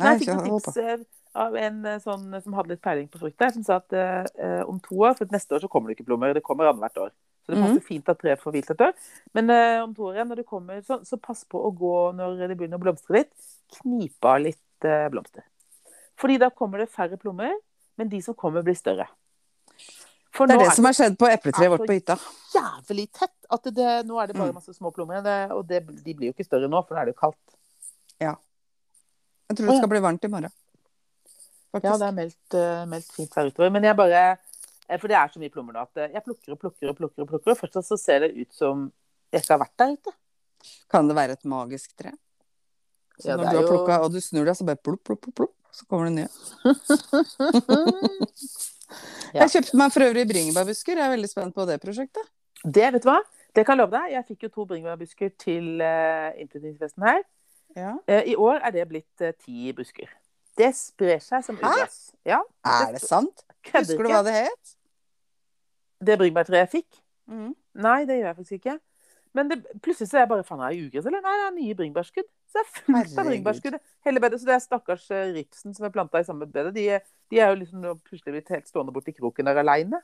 Speaker 2: Nei, jeg fikk
Speaker 1: kjør,
Speaker 2: noen
Speaker 1: hold på.
Speaker 2: tips eh, av en eh, sånn, som hadde litt peiling på frukt der, som sa at eh, eh, om to år, for neste år så kommer det ikke plommer, det kommer annethvert år. Så
Speaker 1: Mhm.
Speaker 2: det passer fint at treet får hvilt et år. Men eh, om to år igjen, når det kommer, så, så pass på å gå når det begynner å blomstre litt, knipe av litt eh, blomster. Fordi da kommer det færre plommer, men de som kommer blir større. For
Speaker 1: Det
Speaker 2: nå
Speaker 1: er det som har skjedd på epletreet
Speaker 2: Ja,
Speaker 1: vårt
Speaker 2: så-
Speaker 1: på hytta.
Speaker 2: jævlig tett. At det, nå er det bare
Speaker 1: Mm.
Speaker 2: masse små plommer, igjen, det- og det, de blir jo ikke større nå, for nå er det jo kaldt.
Speaker 1: Jeg tror
Speaker 2: Å,
Speaker 1: det
Speaker 2: ja.
Speaker 1: skal bli varmt i morgen.
Speaker 2: Ja, det
Speaker 1: Faktisk.
Speaker 2: er meldt, eh, meldt fint her utover. Men jeg bare eh, For det er så mye plommer nå at eh, jeg plukker og plukker og plukker, og plukker, og fortsatt så ser det ut som jeg ikke har vært der ute.
Speaker 1: Kan det være et magisk tre? Så
Speaker 2: Ja, det
Speaker 1: når du
Speaker 2: er
Speaker 1: har
Speaker 2: jo-
Speaker 1: plukka, og du snur deg, så bare plopp, plopp, plopp, plopp, så kommer det nye.
Speaker 2: Ja.
Speaker 1: Jeg kjøpte meg for øvrig bringebærbusker. Jeg er veldig spent på det prosjektet.
Speaker 2: Det, vet du hva? Det kan jeg love deg. Jeg fikk jo to bringebærbusker til uh, innflyttingsfesten her.
Speaker 1: Ja.
Speaker 2: Eh, I år er det blitt eh, ti busker. Det sprer seg som
Speaker 1: Hæ?
Speaker 2: ugress. Ja,
Speaker 1: Er det sant?
Speaker 2: kødder
Speaker 1: Husker du
Speaker 2: ikke.
Speaker 1: hva det het?
Speaker 2: Det bringebærtreet jeg fikk,
Speaker 1: Mm.
Speaker 2: Nei, det gjør jeg faktisk ikke. Men det, plutselig så er jeg bare faen, er jeg ugress, eller? Nei, det er nye bringebærskudd. Så det er fullt av
Speaker 1: Herregud.
Speaker 2: bringebærskudd. Hele bedet, så det er stakkars eh, ripsen som er planta i samme bedet. De, de er jo liksom nå plutselig blitt helt stående borti kroken der aleine.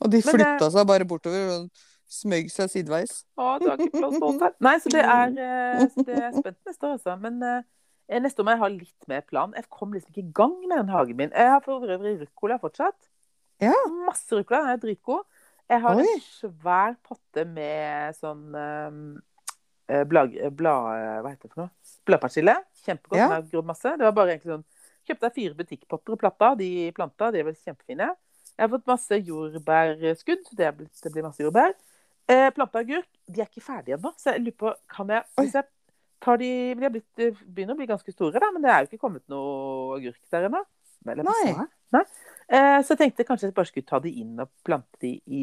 Speaker 1: Og de
Speaker 2: Men det-
Speaker 1: flytta seg bare bortover og smøg seg sideveis.
Speaker 2: Å, du har ikke plass til alt her. Nei, så det
Speaker 1: Mm.
Speaker 2: er, eh, så det er jeg spent neste år, altså. Men eh, neste år må jeg ha litt mer plan. Jeg kom liksom ikke i gang med den hagen min. Jeg har for øvrig ruccola fortsatt.
Speaker 1: Ja.
Speaker 2: Masse ruccola. Den er dritgod. Jeg har
Speaker 1: Oi.
Speaker 2: en svær potte med sånn eh, eh, blag, eh, blad... eh, Hva heter det for noe? Bladpersille. Kjempegodt.
Speaker 1: Ja.
Speaker 2: Den har grodd masse. Det var bare egentlig sånn Kjøpte jeg fire butikkpotter og planta. De planta, de er vel kjempefine. Jeg har fått masse jordbærskudd. Det, er blitt, det blir masse jordbær. Eh, planta agurk. De er ikke ferdige ennå, så jeg lurer på kan jeg,
Speaker 1: Oi.
Speaker 2: hvis jeg tar de, De er blitt, de begynner å bli ganske store, da, men det er jo ikke kommet noe agurk der ennå. Vel, jeg må
Speaker 1: Nei.
Speaker 2: se. Nei. Eh, så jeg tenkte kanskje jeg bare skulle ta de inn og plante de i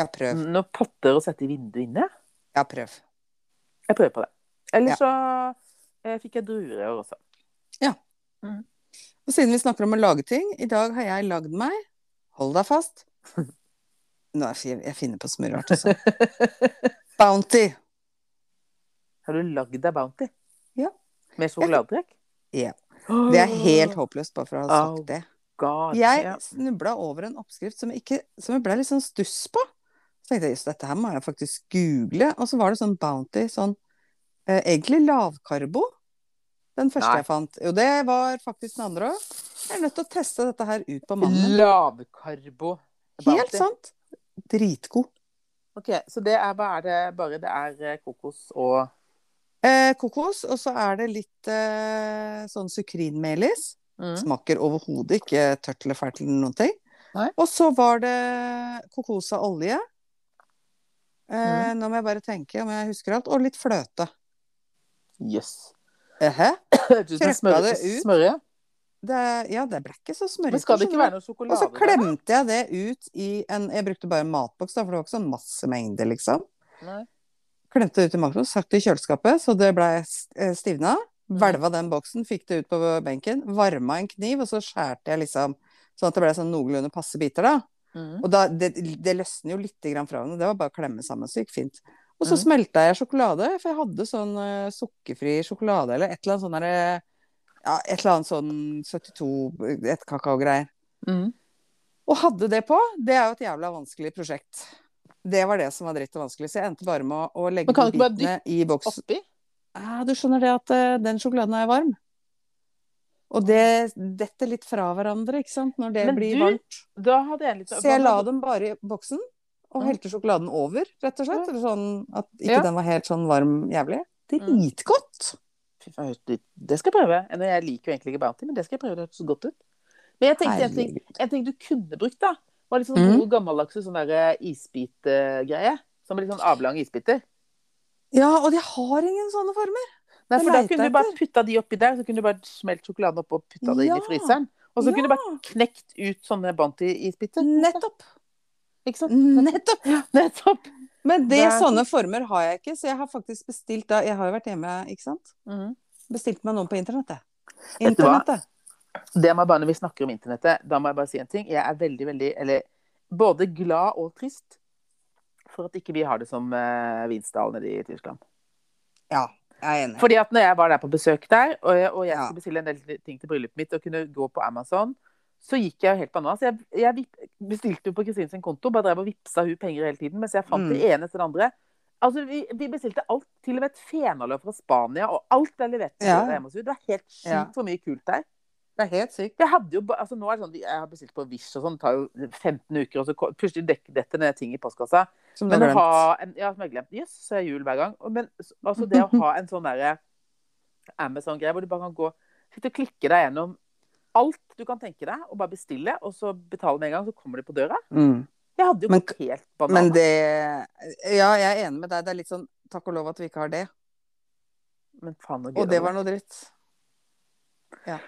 Speaker 1: Ja, prøv.
Speaker 2: noen potter og sette i vinduet inne.
Speaker 1: Ja, prøv.
Speaker 2: Jeg prøver på det. Eller
Speaker 1: Ja.
Speaker 2: så eh, fikk jeg druer i år også.
Speaker 1: Og siden vi snakker om å lage ting, i dag har jeg lagd meg Hold deg fast. Nå er jeg, jeg finner på så mye rart, altså. Bounty.
Speaker 2: Har du lagd deg Bounty?
Speaker 1: Ja.
Speaker 2: Med sjokoladetrekk?
Speaker 1: Ja. Det er helt håpløst, bare for å ha
Speaker 2: Au.
Speaker 1: sagt det.
Speaker 2: God,
Speaker 1: Jeg
Speaker 2: ja.
Speaker 1: snubla over en oppskrift som, ikke, som jeg ble litt sånn stuss på. Så tenkte jeg jøss, dette her må jeg faktisk google. Og så var det sånn Bounty, sånn eh, egentlig lavkarbo. Den første
Speaker 2: Nei.
Speaker 1: jeg fant. Jo, det var faktisk den andre òg. Jeg er nødt til å teste dette her ut på mannen.
Speaker 2: Lavkarbo.
Speaker 1: min. Helt
Speaker 2: Bounty.
Speaker 1: sant. Dritgod.
Speaker 2: Ok, Så det er, hva er det bare det er eh, kokos og
Speaker 1: Eh, kokos, og så er det litt eh, sånn sukrinmelis.
Speaker 2: Mm.
Speaker 1: Smaker overhodet ikke tørt eller fælt eller noen ting.
Speaker 2: Nei.
Speaker 1: Og så var det kokosa olje.
Speaker 2: Mm.
Speaker 1: Eh, Nå må jeg bare tenke om jeg husker alt. Og litt fløte.
Speaker 2: Jøss.
Speaker 1: Ehe.
Speaker 2: Tusen
Speaker 1: Trøkka
Speaker 2: smørre.
Speaker 1: det ut.
Speaker 2: smørre.
Speaker 1: Det, ja, det ble ikke så smørrete.
Speaker 2: Men skal det ikke
Speaker 1: skjønner
Speaker 2: være noe
Speaker 1: du.
Speaker 2: sjokolade?
Speaker 1: Og så
Speaker 2: der?
Speaker 1: klemte jeg det ut i en Jeg brukte bare en matboks, da, for det var ikke sånn masse mengder, liksom.
Speaker 2: Nei.
Speaker 1: Klemte det ut i makroen, satt det i kjøleskapet, så det eh, blei stivna.
Speaker 2: Mm.
Speaker 1: Hvelva den boksen, fikk det ut på benken, varma en kniv, og så skjærte jeg liksom sånn at det ble sånn noenlunde passe biter, da.
Speaker 2: Mm.
Speaker 1: Og da, det, det løsner jo litt grann fra hverandre. Det var bare å klemme sammen, så gikk fint. Og så
Speaker 2: Mhm.
Speaker 1: smelta jeg sjokolade, for jeg hadde sånn eh, sukkerfri sjokolade eller et eller annet sånn derre Ja, et eller annet sånn 72 et kakaogreier.
Speaker 2: Mm.
Speaker 1: Og hadde det på, det er jo et jævla vanskelig prosjekt. Det var det som var dritt og vanskelig, så jeg endte bare med å, å legge
Speaker 2: Men kan
Speaker 1: de
Speaker 2: du ikke bare
Speaker 1: bitene i boks.
Speaker 2: Oppi?
Speaker 1: Ah, du skjønner det at eh, den sjokoladen er varm. Og det detter litt fra hverandre, ikke sant, når det
Speaker 2: Men
Speaker 1: blir
Speaker 2: du-
Speaker 1: varmt.
Speaker 2: Da hadde jeg litt
Speaker 1: Så jeg la dem bare i boksen, og
Speaker 2: Mm.
Speaker 1: helte sjokoladen over, rett og slett. Eller sånn at ikke
Speaker 2: Ja. Mm.
Speaker 1: den var helt sånn varm jævlig. Dritgodt!
Speaker 2: Fy faen, hørtes det- Det skal jeg prøve. Nå, Jeg liker jo egentlig ikke Bounty, men det skal jeg prøve. Det hørtes godt ut. Men jeg tenkte en ting,
Speaker 1: Herregud.
Speaker 2: en ting du kunne brukt, da. Var litt sånn
Speaker 1: Mm.
Speaker 2: god gammeldags sånn der, eh, isbitgreie. Som er litt sånn avlange isbiter.
Speaker 1: Ja, og de har ingen sånne former.
Speaker 2: Nei,
Speaker 1: Det
Speaker 2: for da
Speaker 1: leter
Speaker 2: kunne du bare putta de oppi der, så kunne du bare smelt sjokoladen opp og putta det inn i
Speaker 1: Ja.
Speaker 2: fryseren. Og så
Speaker 1: Ja.
Speaker 2: kunne du bare knekt ut sånne Bounty-isbiter.
Speaker 1: Nettopp!
Speaker 2: Ikke sant?
Speaker 1: Nettopp!
Speaker 2: Nettopp.
Speaker 1: Men det,
Speaker 2: Det er-
Speaker 1: sånne former har jeg ikke, så jeg har faktisk bestilt da Jeg har jo vært hjemme, ikke sant?
Speaker 2: Mhm.
Speaker 1: Bestilt meg noen på internettet.
Speaker 2: Vet du hva?
Speaker 1: Internettet.
Speaker 2: Det må jeg bare, Når vi snakker om internettet, da må jeg bare si en ting. Jeg er veldig, veldig Eller både glad og trist for at ikke vi har det som uh, Vinsdalen nede i Tyskland.
Speaker 1: Ja, jeg er enig.
Speaker 2: Fordi at når jeg var der på besøk der, og jeg, og jeg
Speaker 1: Ja.
Speaker 2: skulle bestille en del ting til bryllupet mitt og kunne gå på Amazon, så gikk jeg jo helt bananas. Jeg, jeg vipp- bestilte jo på Kristine sin konto, bare drev og vippsa hun penger hele tiden, mens jeg fant
Speaker 1: Mm.
Speaker 2: det ene etter det andre. Altså, vi, vi bestilte alt, til og med et fenaløv fra Spania, og alt ble levert til
Speaker 1: Ja.
Speaker 2: døra hjemme hos henne. Det var helt sjukt
Speaker 1: Ja.
Speaker 2: hvor mye kult der.
Speaker 1: Det er helt sykt.
Speaker 2: Jeg hadde jo, ba- altså nå er det sånn, jeg har bestilt på Wish og sånn, det tar jo 15 uker, og så ko- plutselig dekker dette ned ting i postkassa.
Speaker 1: Som du
Speaker 2: Men
Speaker 1: har
Speaker 2: å ha
Speaker 1: glemt.
Speaker 2: en, ja, som jeg har glemt, yes, så er jul hver gang. Og Men s- altså det å ha en sånn der Amazon-greie, hvor du bare kan gå, sitte og klikke deg gjennom alt du kan tenke deg, og bare bestille, og så betale med en gang, så kommer det på døra.
Speaker 1: Mm.
Speaker 2: Jeg hadde jo
Speaker 1: Men-
Speaker 2: gått helt banan.
Speaker 1: Men det Ja, jeg er enig med deg. Det er litt sånn takk og lov at vi ikke har det.
Speaker 2: Men faen, så gøy
Speaker 1: Og det var noe dritt.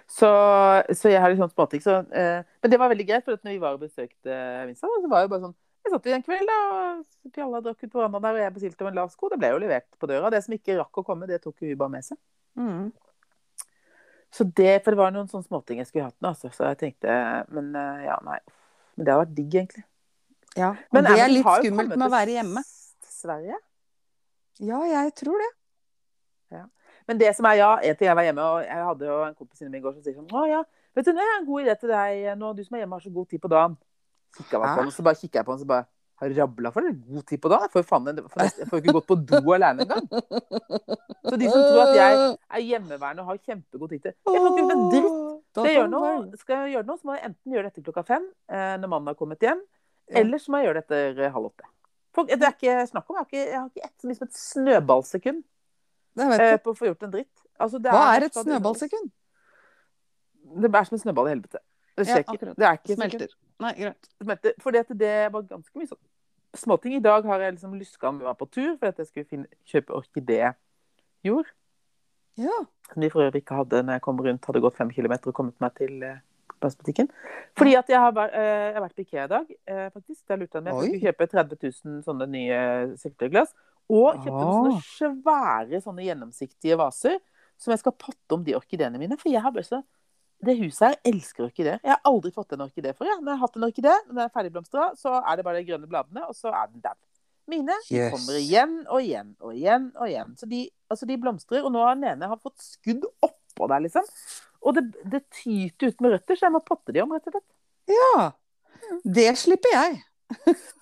Speaker 2: Så, så jeg har liksom på en måte ikke så eh, Men det var veldig greit, for at når vi var og besøkte Vincent, så var det jo bare sånn Jeg satt jo en kveld, da, og vi alle drakk ut på verandaen der, og jeg bestilte en lav sko. Det ble jo levert på døra. Det som ikke rakk å komme, det tok jo hun bare med seg.
Speaker 1: Mm.
Speaker 2: Så det, For det var noen sånne småting jeg skulle hatt nå, altså. Så jeg tenkte Men eh, ja, nei. Men det hadde vært digg, egentlig.
Speaker 1: Ja, og
Speaker 2: Men
Speaker 1: det
Speaker 2: Amazon
Speaker 1: er litt
Speaker 2: har jo
Speaker 1: skummelt
Speaker 2: kommet
Speaker 1: med å
Speaker 2: til
Speaker 1: være hjemme.
Speaker 2: S- Sverige.
Speaker 1: Ja, jeg tror det.
Speaker 2: Men det som er ja, en ting jeg var hjemme, og jeg hadde jo en kompis inne i går som sier sånn Å ja, vet du, det er en god idé til deg eh, nå, du som er hjemme har så god tid på dagen. Kikket jeg bare på
Speaker 1: Hæ?
Speaker 2: han, og så bare kikket jeg på han, så bare har du rabla for det? God tid på dagen? Jeg får jo faen en- for nesten- jeg får jo ikke gått på do alene engang. Så de som tror at jeg er hjemmeværende og har kjempegod tid til Jeg får ikke gjort en dritt.
Speaker 1: Da
Speaker 2: Skal
Speaker 1: kan
Speaker 2: jeg, gjøre
Speaker 1: du
Speaker 2: noe,
Speaker 1: vel.
Speaker 2: skal jeg gjøre noe, så må jeg enten gjøre dette klokka fem eh, når mannen har kommet hjem,
Speaker 1: Ja.
Speaker 2: eller så må jeg gjøre det etter eh, halv åtte. Folk, det er ikke snakk om. Jeg har ikke, jeg har ikke ett, liksom et snøballsekund
Speaker 1: Det vet
Speaker 2: eh,
Speaker 1: du.
Speaker 2: på å få gjort en dritt. Altså, det
Speaker 1: Hva er et
Speaker 2: skal du-
Speaker 1: snøballsekund?
Speaker 2: Det er som en snøball i helvete.
Speaker 1: Ja,
Speaker 2: Det skjer ikke.
Speaker 1: akkurat.
Speaker 2: Det er ikke sikkert.
Speaker 1: Smelter. Nei, greit.
Speaker 2: Smelter. Fordi at det var ganske mye sånn småting. I dag har jeg liksom lyska med meg på tur fordi at jeg skulle finne, kjøpe orkidéjord.
Speaker 1: Ja.
Speaker 2: Som de for øvrig ikke hadde når jeg kom rundt, hadde gått fem kilometer og kommet meg til eh, plastbutikken. Fordi at jeg har, vært, eh, jeg har vært på Ikea i dag, eh, faktisk. Der lurte jeg meg. Jeg
Speaker 1: Oi.
Speaker 2: skulle kjøpe 30 000 sånne nye eh, syltetøyglass. Og kjøpte
Speaker 1: Ah.
Speaker 2: noen sånne svære sånne gjennomsiktige vaser som jeg skal potte om de orkideene mine. For jeg har bare så det huset her elsker orkideer. Jeg har aldri fått en orkidé før. Ja. Når jeg har hatt en orkidé, når den er ferdigblomstra, så er det bare de grønne bladene, og så er den der. Mine de
Speaker 1: Yes.
Speaker 2: kommer igjen og igjen og igjen og igjen. Så de, altså de blomstrer. Og nå har den ene har fått skudd oppå der, liksom. Og det, det tyter ut med røtter, så jeg må potte de om, rett og slett.
Speaker 1: Ja. Det slipper jeg.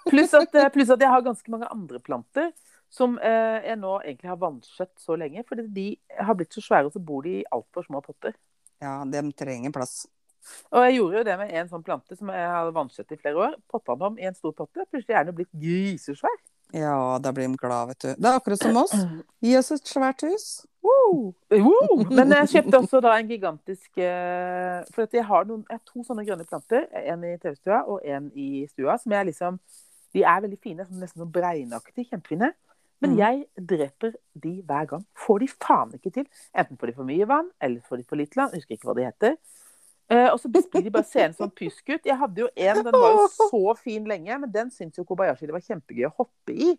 Speaker 2: Pluss at, eh, pluss at jeg har ganske mange andre planter som eh, jeg nå egentlig har vanskjøtt så lenge. Fordi de har blitt så svære, og så bor de i altfor små potter.
Speaker 1: Ja, de trenger plass.
Speaker 2: Og jeg gjorde jo det med en sånn plante som jeg hadde vanskjøtt i flere år. Potta den om i en stor potte. Plutselig er den jo blitt grisesvær.
Speaker 1: Ja, da blir de glad, vet du. Det er akkurat som oss. Gi oss et svært hus.
Speaker 2: Wow. Wow. Men jeg kjøpte også da en gigantisk eh, For at jeg har, noen, jeg har to sånne grønne planter. En i TV-stua og en i stua. Som jeg liksom De er veldig fine. Sånn, nesten sånn bregnaktige. Kjempefine. Men
Speaker 1: Mm.
Speaker 2: jeg dreper de hver gang. Får de faen ikke til. Enten får de for mye vann, eller får de for lite vann. Husker ikke hva de heter. Eh, og så blir de bare seende som pysk ut. Jeg hadde jo en, den var jo så fin lenge, men den syntes jo Kobayashi det var kjempegøy å hoppe i.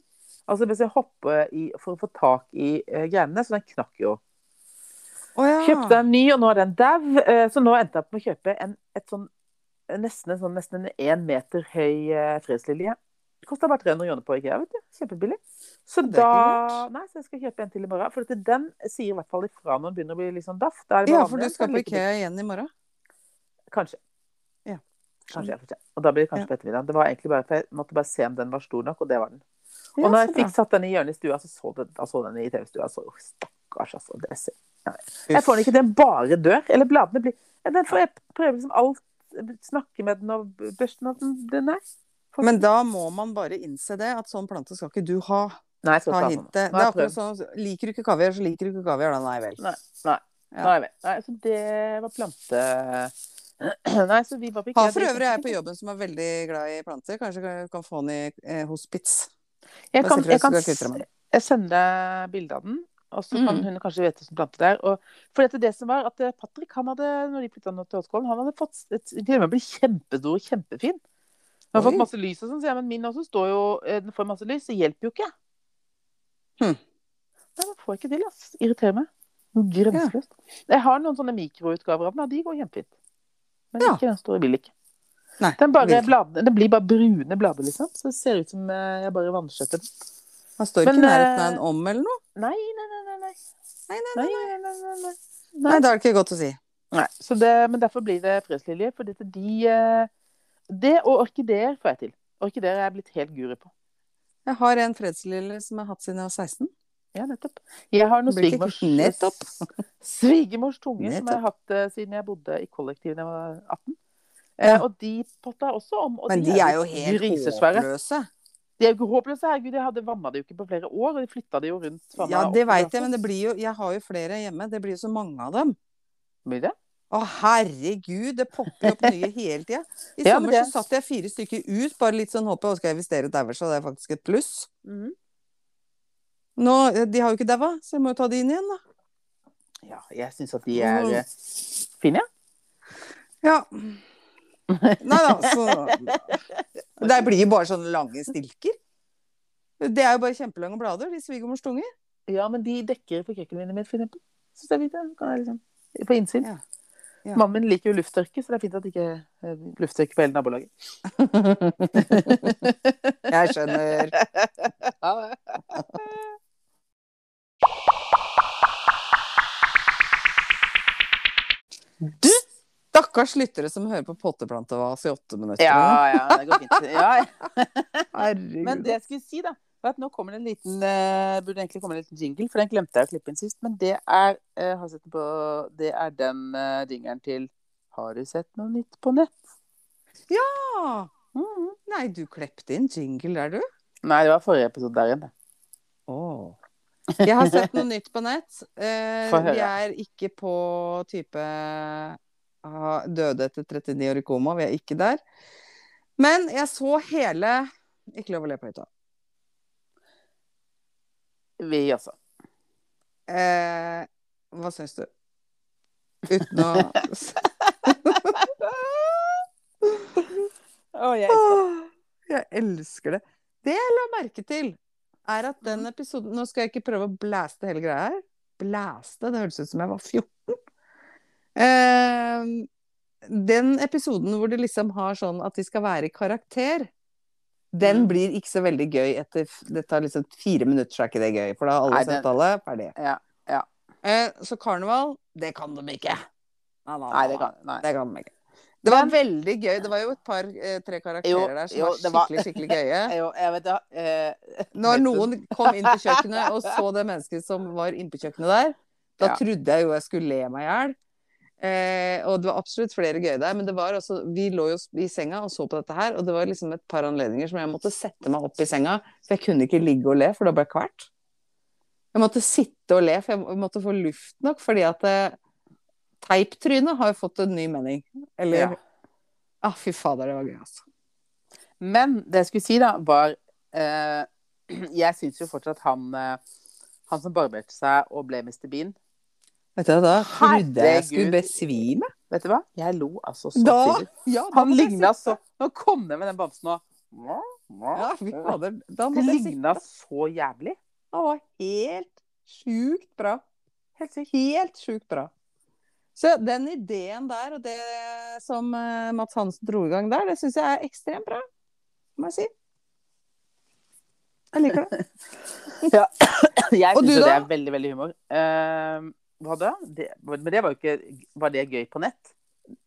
Speaker 2: Altså hvis jeg hopper i for å få tak i eh, greinene, så den knakk jo.
Speaker 1: Å ja.
Speaker 2: Kjøpte en ny, og nå er den dau. eh, Så nå endte jeg opp med å kjøpe en et sånn, nesten, en sånn, nesten en én meter høy eh, fredslilje. Det kosta bare 300 kroner på IKEA. vet du. Kjempebillig. Så
Speaker 1: Det er
Speaker 2: da Nei, så jeg skal kjøpe en til i morgen. For at den sier i hvert fall ifra når den begynner å bli litt sånn daff. Da er det
Speaker 1: Ja,
Speaker 2: bare
Speaker 1: for
Speaker 2: vanlig,
Speaker 1: du
Speaker 2: så
Speaker 1: skal
Speaker 2: er
Speaker 1: på
Speaker 2: det like
Speaker 1: IKEA igjen i morgen.
Speaker 2: bra. Kanskje.
Speaker 1: Ja.
Speaker 2: Kanskje, jeg får se. Og da blir det kanskje
Speaker 1: Ja.
Speaker 2: på ettermiddagen. Det var egentlig bare for jeg måtte bare se om den var stor nok, og det var den. Og
Speaker 1: Ja,
Speaker 2: når jeg
Speaker 1: så bra.
Speaker 2: fikk satt den i hjørnet i stua, så så den, da så den i TV-stua. Så oh, stakkars, altså. Det ser jeg får den ikke, den bare dør. Eller bladene blir Ja, Den får jeg prøve liksom alt. Snakke med den og børste den at den- den er.
Speaker 1: Men da må man bare innse det, at sånn plante skal ikke du ha.
Speaker 2: Nei, jeg skal
Speaker 1: Ta
Speaker 2: ikke ha sånn.
Speaker 1: hintet. Det er
Speaker 2: Nå har jeg
Speaker 1: akkurat
Speaker 2: prøvd.
Speaker 1: sånn, liker du ikke kaviar, så liker du ikke kaviar, da nei vel.
Speaker 2: Nei.
Speaker 1: Ja.
Speaker 2: Nå er jeg med. Nei, så det var plante... Nei, så vi var på IKEA.
Speaker 1: Har for øvrig jeg på jobben som er veldig glad i planter. Kanskje kan- kan få den i eh, hospits.
Speaker 2: Jeg kan,
Speaker 1: Bare si
Speaker 2: jeg
Speaker 1: fra
Speaker 2: kan
Speaker 1: hvis du skal kvitte deg med den.
Speaker 2: jeg sender deg bilde av den, og så kan
Speaker 1: Mm.
Speaker 2: hun kanskje vite hvilken plante det er. Og, for dette, det som var at eh, Patrick, han hadde, når de flytta nå til Åskollen, han hadde fått et firma ble kjempestor og kjempefin. Han har
Speaker 1: Oi.
Speaker 2: fått masse lys og sånn, sier jeg, men min også står jo eh, Den får masse lys, det hjelper jo ikke.
Speaker 1: Hm.
Speaker 2: Nei, den får jeg ikke til, ass. Irriterer meg. Noe Grenseløst. Jeg har noen sånne mikroutgaver av den, og de går kjempefint. Men
Speaker 1: Ja.
Speaker 2: ikke den store, vil ikke.
Speaker 1: Nei,
Speaker 2: Den, bare,
Speaker 1: virkelig.
Speaker 2: bladene, den blir bare brune blader, liksom. Så det ser ut som eh, jeg bare vanskjøtter den.
Speaker 1: Han står
Speaker 2: Men,
Speaker 1: ikke i nærheten av
Speaker 2: eh,
Speaker 1: en om eller noe.
Speaker 2: Nei, nei, nei, nei. nei.
Speaker 1: Nei, nei,
Speaker 2: nei, nei, nei, nei, nei.
Speaker 1: Nei, da er det ikke godt å si.
Speaker 2: Nei, så det, men derfor blir det fredslilje. For dette, de eh, Det og orkideer får jeg til. Orkideer er jeg blitt helt guru på.
Speaker 1: Jeg har en fredslille som jeg har hatt siden jeg var 16.
Speaker 2: Ja, nettopp. Jeg har noen
Speaker 1: Blir ikke
Speaker 2: svigermors
Speaker 1: kvitt- nettopp.
Speaker 2: Svigermors tunge som jeg har hatt eh, siden jeg bodde i kollektiv da jeg var 18. Eh,
Speaker 1: Ja.
Speaker 2: og de potta også om. Og
Speaker 1: Men de er jo
Speaker 2: blitt
Speaker 1: helt
Speaker 2: grisesvære.
Speaker 1: håpløse.
Speaker 2: De er jo håpløse. Herregud, jeg hadde vamma de jo ikke på flere år. Og de flytta de jo rundt. faen
Speaker 1: Ja,
Speaker 2: meg,
Speaker 1: det
Speaker 2: opp i
Speaker 1: veit jeg, men det blir jo Jeg har jo flere hjemme. Det blir jo så mange av dem.
Speaker 2: Blir det?
Speaker 1: Å, herregud, det popper jo opp nye hele tida. I
Speaker 2: Ja, men
Speaker 1: sommer
Speaker 2: det-
Speaker 1: så satt jeg fire stykker ut, bare litt sånn håpet, og skal jeg investere i dauer, så det er faktisk et pluss. Mm. Nå, eh, De har jo ikke daua, så jeg må jo ta de inn igjen, da.
Speaker 2: Ja, jeg syns at de er eh, fine, ja.
Speaker 1: Ja. Nei da, så Det blir jo bare sånne lange stilker. Det er jo bare kjempelange blader, de svigermors tunger.
Speaker 2: Ja, men de dekker på kjøkkenvinduet mitt, for eksempel. Synes jeg er fint, ja. Kan være liksom, på innsyn.
Speaker 1: Ja. Ja.
Speaker 2: Mannen min liker jo lufttørke, så det er fint at det ikke er lufttørke på hele nabolaget.
Speaker 1: Jeg skjønner.
Speaker 2: Ha det.
Speaker 1: Du, stakkars lyttere som hører på potteplantevas i åtte minutter.
Speaker 2: Ja, ja, det går fint. Ja, ja.
Speaker 1: Herregud.
Speaker 2: Men det jeg skulle si, da, var at nå kommer det en liten eh, Burde egentlig komme en liten jingle, for den glemte jeg å klippe inn sist. Men det er eh, Har du sett den på Det er den eh, jingelen til Har du sett noe nytt på nett?
Speaker 1: Ah,
Speaker 2: Mhm.
Speaker 1: Nei, du klepte inn jingle der, du.
Speaker 2: Nei, det var forrige episode der igjen. det.
Speaker 1: Jeg har sett noe nytt på nett. Eh,
Speaker 2: Få høre.
Speaker 1: vi er ikke på type ah, døde etter 39 år i koma. Vi er ikke der. Men jeg så hele Ikke lov å le på hytta.
Speaker 2: Vi også.
Speaker 1: Eh, hva syns du? Uten å
Speaker 2: Å, jeg
Speaker 1: Åh, Jeg elsker det. Det jeg la merke til, er at
Speaker 2: Mhm.
Speaker 1: den episoden Nå skal jeg ikke prøve å blæste hele greia her. Blæste? Det høres ut som jeg var 14. Eh, den episoden hvor det liksom har sånn at de skal være i karakter, den
Speaker 2: Mm.
Speaker 1: blir ikke så veldig gøy etter f- Det tar liksom fire minutter, så er ikke det gøy. For da har alle
Speaker 2: Nei, den-
Speaker 1: sett alle. Ferdig.
Speaker 2: Ja, ja.
Speaker 1: Eh, så karneval, det kan de ikke. Nei,
Speaker 2: Nei, det kan nei.
Speaker 1: Det kan de ikke. Det var veldig gøy. Det var jo et par-tre karakterer
Speaker 2: Jo,
Speaker 1: der som
Speaker 2: jo, det var-
Speaker 1: var skikkelig, skikkelig gøye.
Speaker 2: Jo, jeg vet det. eh,
Speaker 1: Når
Speaker 2: vet du-
Speaker 1: noen kom inn på kjøkkenet og så det mennesket som var inne på kjøkkenet der, da
Speaker 2: Ja.
Speaker 1: trodde jeg jo jeg skulle le meg i hjel. Eh, og det var absolutt flere gøye der, men det var altså, vi lå jo i senga og så på dette her, og det var liksom et par anledninger som jeg måtte sette meg opp i senga, for jeg kunne ikke ligge og le, for da ble jeg kvert. Jeg måtte sitte og le, for jeg måtte få luft nok, fordi at eh, teiptrynet har jo fått en ny mening. Eller
Speaker 2: Ja.
Speaker 1: Ah, fy fader, det var gøy, altså.
Speaker 2: Men det jeg skulle si, da, var eh, Jeg syns jo fortsatt han eh, Han som barberte seg og ble Mr. Bean
Speaker 1: Vet du, hva, da trodde jeg jeg
Speaker 2: Herregud.
Speaker 1: skulle besvime.
Speaker 2: Vet du hva? Jeg lo altså så
Speaker 1: Da-
Speaker 2: tidlig.
Speaker 1: Ja, da
Speaker 2: Han
Speaker 1: måtte jeg
Speaker 2: ligna så Nå kom det med den bamsen og
Speaker 1: Ja, fy fader. Da
Speaker 2: Det
Speaker 1: måtte jeg si
Speaker 2: ligna så jævlig.
Speaker 1: Han var helt sjukt bra.
Speaker 2: Helt sykt.
Speaker 1: Helt sjukt bra. Så den ideen der, og det som eh, Mats Hansen dro i gang der, det syns jeg er ekstremt bra, må jeg si. Jeg liker det.
Speaker 2: Jeg
Speaker 1: Og
Speaker 2: syns
Speaker 1: du
Speaker 2: jo det
Speaker 1: da?
Speaker 2: er veldig, veldig humor. Eh, hva da? Det, men det var jo ikke Var det gøy på nett?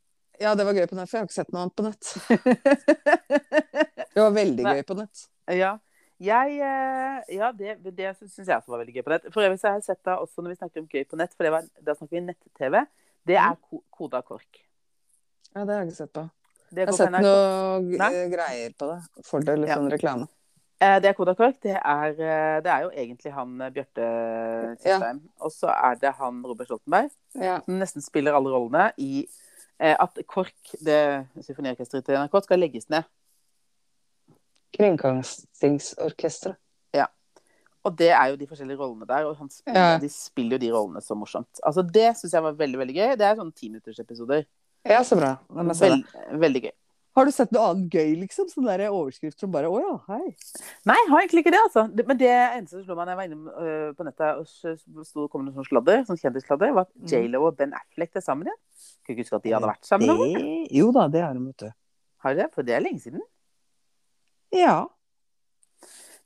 Speaker 1: Ja, det var gøy på nett, for jeg har ikke sett noe annet på nett. Det var veldig
Speaker 2: Nei.
Speaker 1: gøy på nett.
Speaker 2: Ja. Jeg, eh, ja, det, det syns jeg også var veldig gøy på nett. For øvrig så har jeg sett da også når vi snakker om gøy på nett, for det var, da snakker vi nett-TV, det
Speaker 1: Mm.
Speaker 2: er ko Koda Kork.
Speaker 1: Ja, det har jeg ikke sett på.
Speaker 2: Det,
Speaker 1: Jeg har
Speaker 2: går på
Speaker 1: sett
Speaker 2: NRK.
Speaker 1: noen
Speaker 2: Nei.
Speaker 1: eh, greier på det. Fordel litt
Speaker 2: Ja.
Speaker 1: sånn reklame.
Speaker 2: Eh, det er Koda Kork. Det er, eh, det er jo egentlig han eh, Bjarte Tjøstheim. Og så er det han Robert Stoltenberg,
Speaker 1: Ja.
Speaker 2: som nesten spiller alle rollene i eh, at KORK, det symfoniorkesteret til NRK, skal legges ned.
Speaker 1: Kringkastingsorkesteret.
Speaker 2: Og det er jo de forskjellige rollene der, og han spiller,
Speaker 1: Ja.
Speaker 2: de spiller jo de rollene så morsomt. Altså, det syns jeg var veldig, veldig gøy. Det er sånn timinuttersepisoder.
Speaker 1: Ja, så bra. Da må jeg se det.
Speaker 2: Veld, veldig gøy.
Speaker 1: Har du sett noe annet gøy, liksom? Sånn der overskrift som bare Å ja, hei.
Speaker 2: Nei, jeg har egentlig ikke det, altså. Det- Men det eneste som slo meg da jeg var inne øh, på nettet og så sto, kom det noe sånn sladder, sånn kjendissladder, var at
Speaker 1: Mm.
Speaker 2: J.Lo og Ben Affleck er sammen igjen. Skulle ikke huske at de hadde vært sammen. da.
Speaker 1: Det- Eh, Jo da, det har de, vet du.
Speaker 2: Har de det? For det er lenge siden.
Speaker 1: Ja.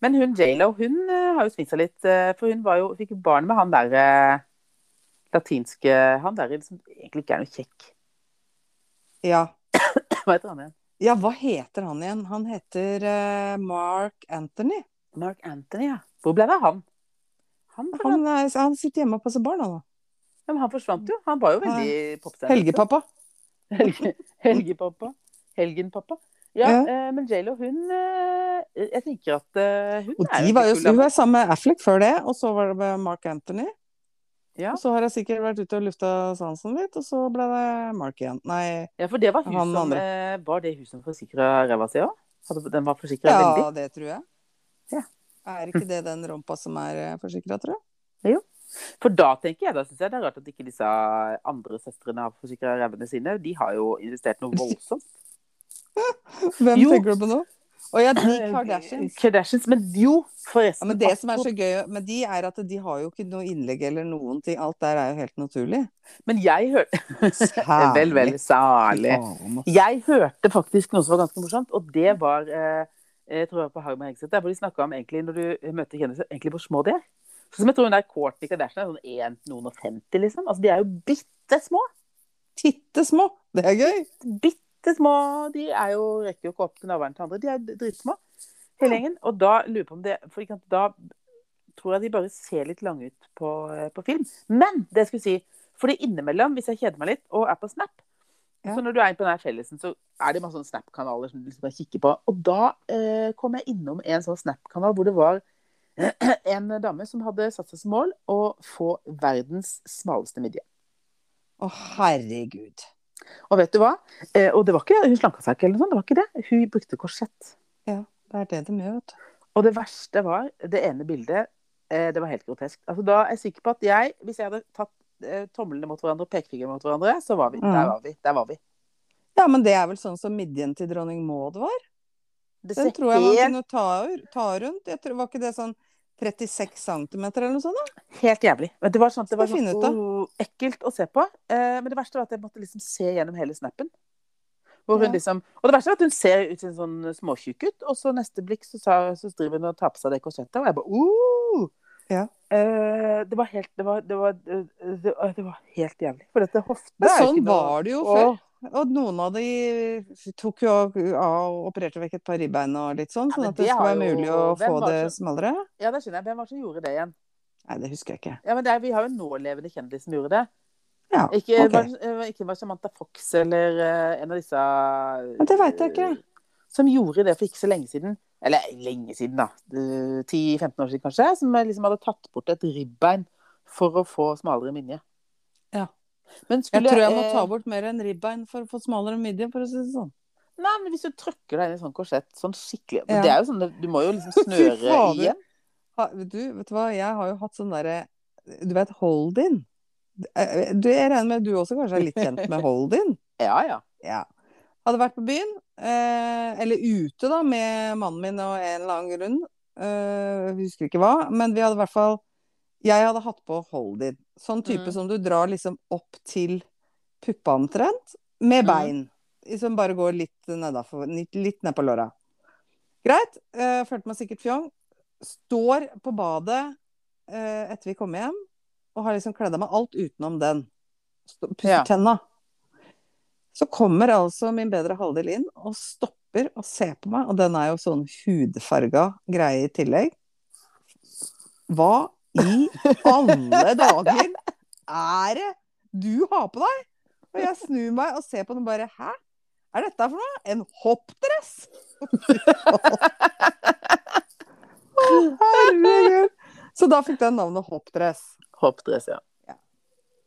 Speaker 2: Men hun J.Lo, hun øh, har jo svingt seg litt, øh, for hun var jo, fikk jo barn med han der øh, latinske Han der som egentlig ikke er noe kjekk.
Speaker 1: ja.
Speaker 2: Hva heter han igjen?
Speaker 1: Ja, hva heter han igjen? Han heter eh, Mark Anthony.
Speaker 2: Mark Anthony, ja. Hvor ble det av han? Han, forsvant-
Speaker 1: Han, er, han sitter hjemme og passer barn, han da.
Speaker 2: Ja, men han forsvant jo. Han var jo veldig popstjerne.
Speaker 1: Helgepappa.
Speaker 2: Helge, helgepappa. Helgenpappa. Ja,
Speaker 1: Ja.
Speaker 2: eh, men J.Lo, hun eh, Jeg tenker at eh, hun
Speaker 1: Og
Speaker 2: er
Speaker 1: de var jo,
Speaker 2: kul,
Speaker 1: hun
Speaker 2: da.
Speaker 1: er sammen med Affleck før det, og så var det med Mark Anthony.
Speaker 2: Ja.
Speaker 1: Og så har jeg sikkert vært ute og lufta sansen litt, og så ble det Mark igjen. Nei,
Speaker 2: Ja, for det var hun
Speaker 1: han
Speaker 2: som
Speaker 1: andre.
Speaker 2: eh, Var det hun som forsikra ræva si òg? Den var forsikra veldig?
Speaker 1: ja, det tror jeg.
Speaker 2: Ja.
Speaker 1: Er ikke det den rumpa som er forsikra, tror jeg?
Speaker 2: For da tenker jeg, da syns jeg det er rart at ikke disse andre søstrene har forsikra rævene sine. De har jo investert noe voldsomt.
Speaker 1: Hvem
Speaker 2: Jo.
Speaker 1: tenker du på nå? Å ja, de Kardashians.
Speaker 2: Kardashians. Men jo, forresten.
Speaker 1: Ja, men det som er så gøy med de, er at de har jo ikke noe innlegg eller noen ting. Alt der er jo helt naturlig.
Speaker 2: Men jeg hørte
Speaker 1: Særlig.
Speaker 2: Vel, vel, særlig. altså.
Speaker 1: Faen, ass.
Speaker 2: Jeg hørte faktisk noe som var ganske morsomt, og det var eh, jeg tror jeg var på Hagen med Hegseth, der hvor de snakka om egentlig når du møter kjendiser, egentlig hvor små de er. Sånn som jeg tror hun der Courtney Kardashian er sånn 1 noen og 50, liksom. Altså, de er jo bitte små.
Speaker 1: Titte små! Det er gøy!
Speaker 2: Bitte små. De er jo, rekker jo ikke opp til navlen til andre. De er jo dritsmå, hele gjengen. Og da lurer jeg på om det For ikke sant, da tror jeg de bare ser litt lange ut på, eh, på film. Men det jeg skulle si fordi innimellom, hvis jeg kjeder meg litt og er på Snap
Speaker 1: Ja.
Speaker 2: Så når du er inne på denne fellesen, så er det masse sånne Snap-kanaler som du liksom kan kikke på. Og da eh, kom jeg innom en sånn Snap-kanal hvor det var en dame som hadde satt seg som mål å få verdens smaleste midje.
Speaker 1: Å, herregud.
Speaker 2: Og vet du hva? Eh, og det var ikke, hun slanka seg ikke, eller noe sånt. Det var ikke det. Hun brukte korsett.
Speaker 1: Det er det de gjør, vet du.
Speaker 2: Og det verste var det ene bildet. Eh, det var helt grotesk. Altså, da er jeg sikker på at jeg, hvis jeg hadde tatt eh, tomlene mot hverandre og pekefingeren mot hverandre, så var vi.
Speaker 1: Mm.
Speaker 2: Der var vi. Der var vi.
Speaker 1: Ja, men det er vel sånn som midjen til dronning Maud var?
Speaker 2: Det
Speaker 1: Den
Speaker 2: ser
Speaker 1: tror jeg man
Speaker 2: helt-
Speaker 1: kunne ta, ta rundt. Jeg tror, var ikke det sånn 36 cm eller noe sånt? da?
Speaker 2: Helt jævlig. Men det var sånn, det var
Speaker 1: Skal
Speaker 2: sånn
Speaker 1: finne ut av.
Speaker 2: «Åh, ekkelt å se på. Eh, men det verste var at jeg måtte liksom se gjennom hele snappen. Hvor hun
Speaker 1: Ja.
Speaker 2: liksom, og det verste var at hun ser ut som en sånn småtjukk ut, og så neste blikk så, sa, så driver hun og tar på seg det korsettet, og jeg bare uh!
Speaker 1: Ja.
Speaker 2: Eh, det var helt det var, det var, det, det, det var helt jævlig. For dette hoftene
Speaker 1: Men
Speaker 2: er jo
Speaker 1: sånn
Speaker 2: ikke noe-
Speaker 1: var det jo
Speaker 2: Åh.
Speaker 1: før. Og noen av de tok jo av og opererte vekk et par ribbein og litt sånn,
Speaker 2: Ja,
Speaker 1: sånn
Speaker 2: men
Speaker 1: at det
Speaker 2: det
Speaker 1: skulle
Speaker 2: har
Speaker 1: være
Speaker 2: jo-
Speaker 1: mulig å
Speaker 2: hvem
Speaker 1: få
Speaker 2: var
Speaker 1: det
Speaker 2: det
Speaker 1: smalere.
Speaker 2: Ja, det skjønner jeg. Hvem var det som gjorde det igjen?
Speaker 1: Nei, det husker jeg ikke.
Speaker 2: Ja, men det er, Vi har jo en nålevende kjendis som gjorde det.
Speaker 1: Ja,
Speaker 2: Ikke,
Speaker 1: ok.
Speaker 2: var, eh, ikke var Samantha Fox eller eh, en av disse eh,
Speaker 1: Ja, det vet jeg ikke.
Speaker 2: Som gjorde det for ikke så lenge siden. Eller lenge siden, da. Eh, 10-15 år siden, kanskje. Som liksom hadde tatt bort et ribbein for å få smalere minje.
Speaker 1: Ja.
Speaker 2: Men
Speaker 1: Jeg
Speaker 2: skulle
Speaker 1: tror jeg må
Speaker 2: eh,
Speaker 1: ta bort mer enn ribbein for å få smalere midje, for å si det sånn.
Speaker 2: Nei, men hvis du trykker deg inn i sånn korsett sånn skikkelig
Speaker 1: Ja.
Speaker 2: Det er jo sånn, Du må jo liksom
Speaker 1: Fy
Speaker 2: snøre
Speaker 1: fader.
Speaker 2: igjen.
Speaker 1: Ha- vet Du, vet du hva, jeg har jo hatt sånn derre Du vet, hold-in. Eh, Du, jeg regner med at du også kanskje er litt kjent med hold-in?
Speaker 2: Ja, ja.
Speaker 1: Ja. Hadde vært på byen, eh, eller ute da, med mannen min og en eller annen grunn. Eh, vi husker ikke hva, men vi hadde i hvert fall Jeg hadde hatt på hold-in. Sånn type
Speaker 2: Mm.
Speaker 1: som du drar liksom opp til puppa omtrent, med
Speaker 2: Mm.
Speaker 1: bein. Som bare går litt nedafor, litt, litt ned på låra. Greit. Eh, følte meg sikkert fjong. Står på badet eh, etter vi kommer hjem, og har liksom kledd av meg alt utenom den. Stå- Pusser
Speaker 2: Ja.
Speaker 1: tenna. Så kommer altså min bedre halvdel inn og stopper og ser på meg, og den er jo sånn hudfarga greie i tillegg. Hva i alle dager er det du har på deg? Og jeg snur meg og ser på den og bare Hæ? Er dette for noe? En hoppdress? Å, herregud. Så da fikk den navnet hoppdress.
Speaker 2: Hoppdress, ja.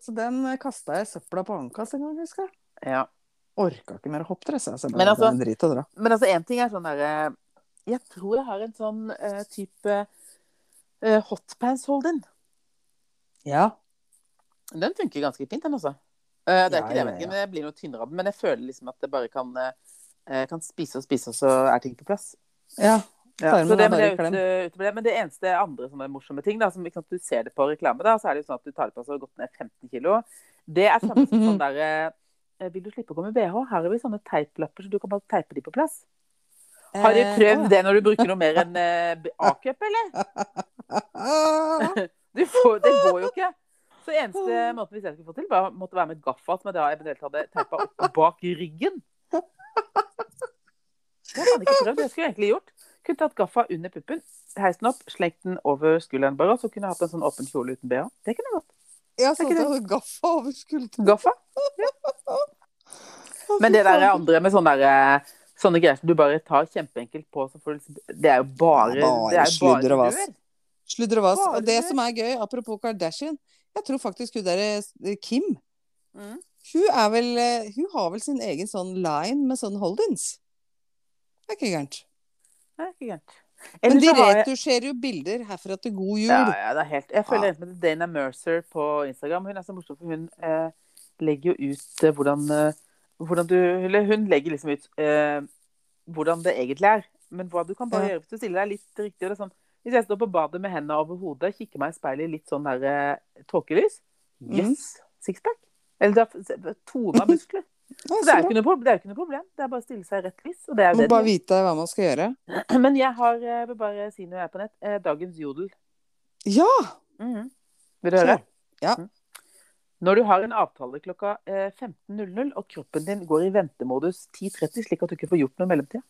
Speaker 1: Så den kasta jeg i søpla på Ankas en gang, husker jeg.
Speaker 2: ja.
Speaker 1: Orka ikke mer hoppdress. Jeg. Så jeg bare,
Speaker 2: Men altså-
Speaker 1: det er en drit å dra.
Speaker 2: Men altså, én ting er sånn derre Jeg tror jeg har en sånn eh, type eh, hotpants-hold-in.
Speaker 1: Ja.
Speaker 2: Den funker ganske fint, den altså. Eh, det er
Speaker 1: Ja,
Speaker 2: ikke det, jeg
Speaker 1: ja,
Speaker 2: vet
Speaker 1: ja.
Speaker 2: ikke, men jeg blir noe tynnere av den. Men jeg føler liksom at det bare kan, eh, kan spise og spise, og så er ting på plass.
Speaker 1: ja.
Speaker 2: Ja,
Speaker 1: Tarmen
Speaker 2: så det,
Speaker 1: er
Speaker 2: men, det,
Speaker 1: bare i
Speaker 2: er ute, ute på det. men det eneste andre sånne morsomme ting, da, som ikke sant, du ser det på reklame, da, så er det jo sånn at du tar det på så har du gått ned 15 kilo. Det er samme som sånn der eh, Vil du slippe å gå med bh? Her har vi sånne teiplapper, så du kan bare teipe de på plass.
Speaker 1: Eh,
Speaker 2: Har de prøvd det når du bruker noe mer enn eh, b- A-cup, eller?
Speaker 1: det?
Speaker 2: Du får, det går jo ikke. Så eneste måten vi skulle få til, var, måtte være med gaffa, som jeg da eventuelt hadde teipa opp bak ryggen. Det hadde jeg ikke prøvd. Det skulle jeg egentlig gjort. Kunne tatt gaffa under puppen, heist den opp, slengt den over skulderen bare, og så kunne jeg hatt en sånn åpen kjole uten bh. Det kunne jeg godt.
Speaker 1: Ja,
Speaker 2: Er
Speaker 1: sånn
Speaker 2: ikke
Speaker 1: at
Speaker 2: det-
Speaker 1: jeg hadde gaffa over skulderen.
Speaker 2: Gaffa.
Speaker 1: Å,
Speaker 2: Men
Speaker 1: fy
Speaker 2: det der
Speaker 1: faen.
Speaker 2: andre med sånne, der, eh, sånne greier som du bare tar kjempeenkelt på, så får du liksom Det er jo bare
Speaker 1: Det er bare
Speaker 2: det er jo
Speaker 1: sludder og
Speaker 2: bare
Speaker 1: vas.
Speaker 2: sludder.
Speaker 1: Sludder og vas.
Speaker 2: Bare
Speaker 1: Og det
Speaker 2: det.
Speaker 1: som er gøy, apropos Kardashian, jeg tror faktisk hun derre eh, Kim
Speaker 2: Mm.
Speaker 1: hun, er vel, eh, hun har vel sin egen sånn line med sånn holdings. Det er ikke gærent.
Speaker 2: Det er ikke gærent.
Speaker 1: Men
Speaker 2: Ellers
Speaker 1: de
Speaker 2: så har jeg-
Speaker 1: retusjerer jo bilder herfra til god jul.
Speaker 2: Ja, ja, det er helt Jeg følger
Speaker 1: Ja.
Speaker 2: ja. med Dana Mercer på Instagram. Hun er så morsom, for hun eh, legger jo ut eh, hvordan, eh, hvordan du Eller hun legger liksom ut eh, hvordan det egentlig er. Men hva du kan bare
Speaker 1: Ja.
Speaker 2: gjøre hvis du stiller deg litt riktig. Og det er sånn, hvis jeg står på badet med hendene over hodet, kikker meg i speilet i litt sånn der eh, tåkelys
Speaker 1: Mhm.
Speaker 2: Yes! Sixpack. Eller det er tone av muskler.
Speaker 1: Ja,
Speaker 2: Så det er
Speaker 1: så
Speaker 2: jo
Speaker 1: bra.
Speaker 2: ikke noe problem. Det er, jo ikke noe problem. Det er bare å stille seg i rett lys. Og det er
Speaker 1: Må
Speaker 2: det
Speaker 1: bare
Speaker 2: det.
Speaker 1: vite hva man skal gjøre.
Speaker 2: er. Men jeg har, eh, jeg vil bare si når jeg er på nett, eh, dagens jodel.
Speaker 1: Ja!
Speaker 2: Mhm. Vil du høre?
Speaker 1: Kjør. Ja.
Speaker 2: Mhm. Når du har en avtale klokka eh, 15.00 og kroppen din går i ventemodus 10.30, slik at du ikke får gjort noe i mellomtida.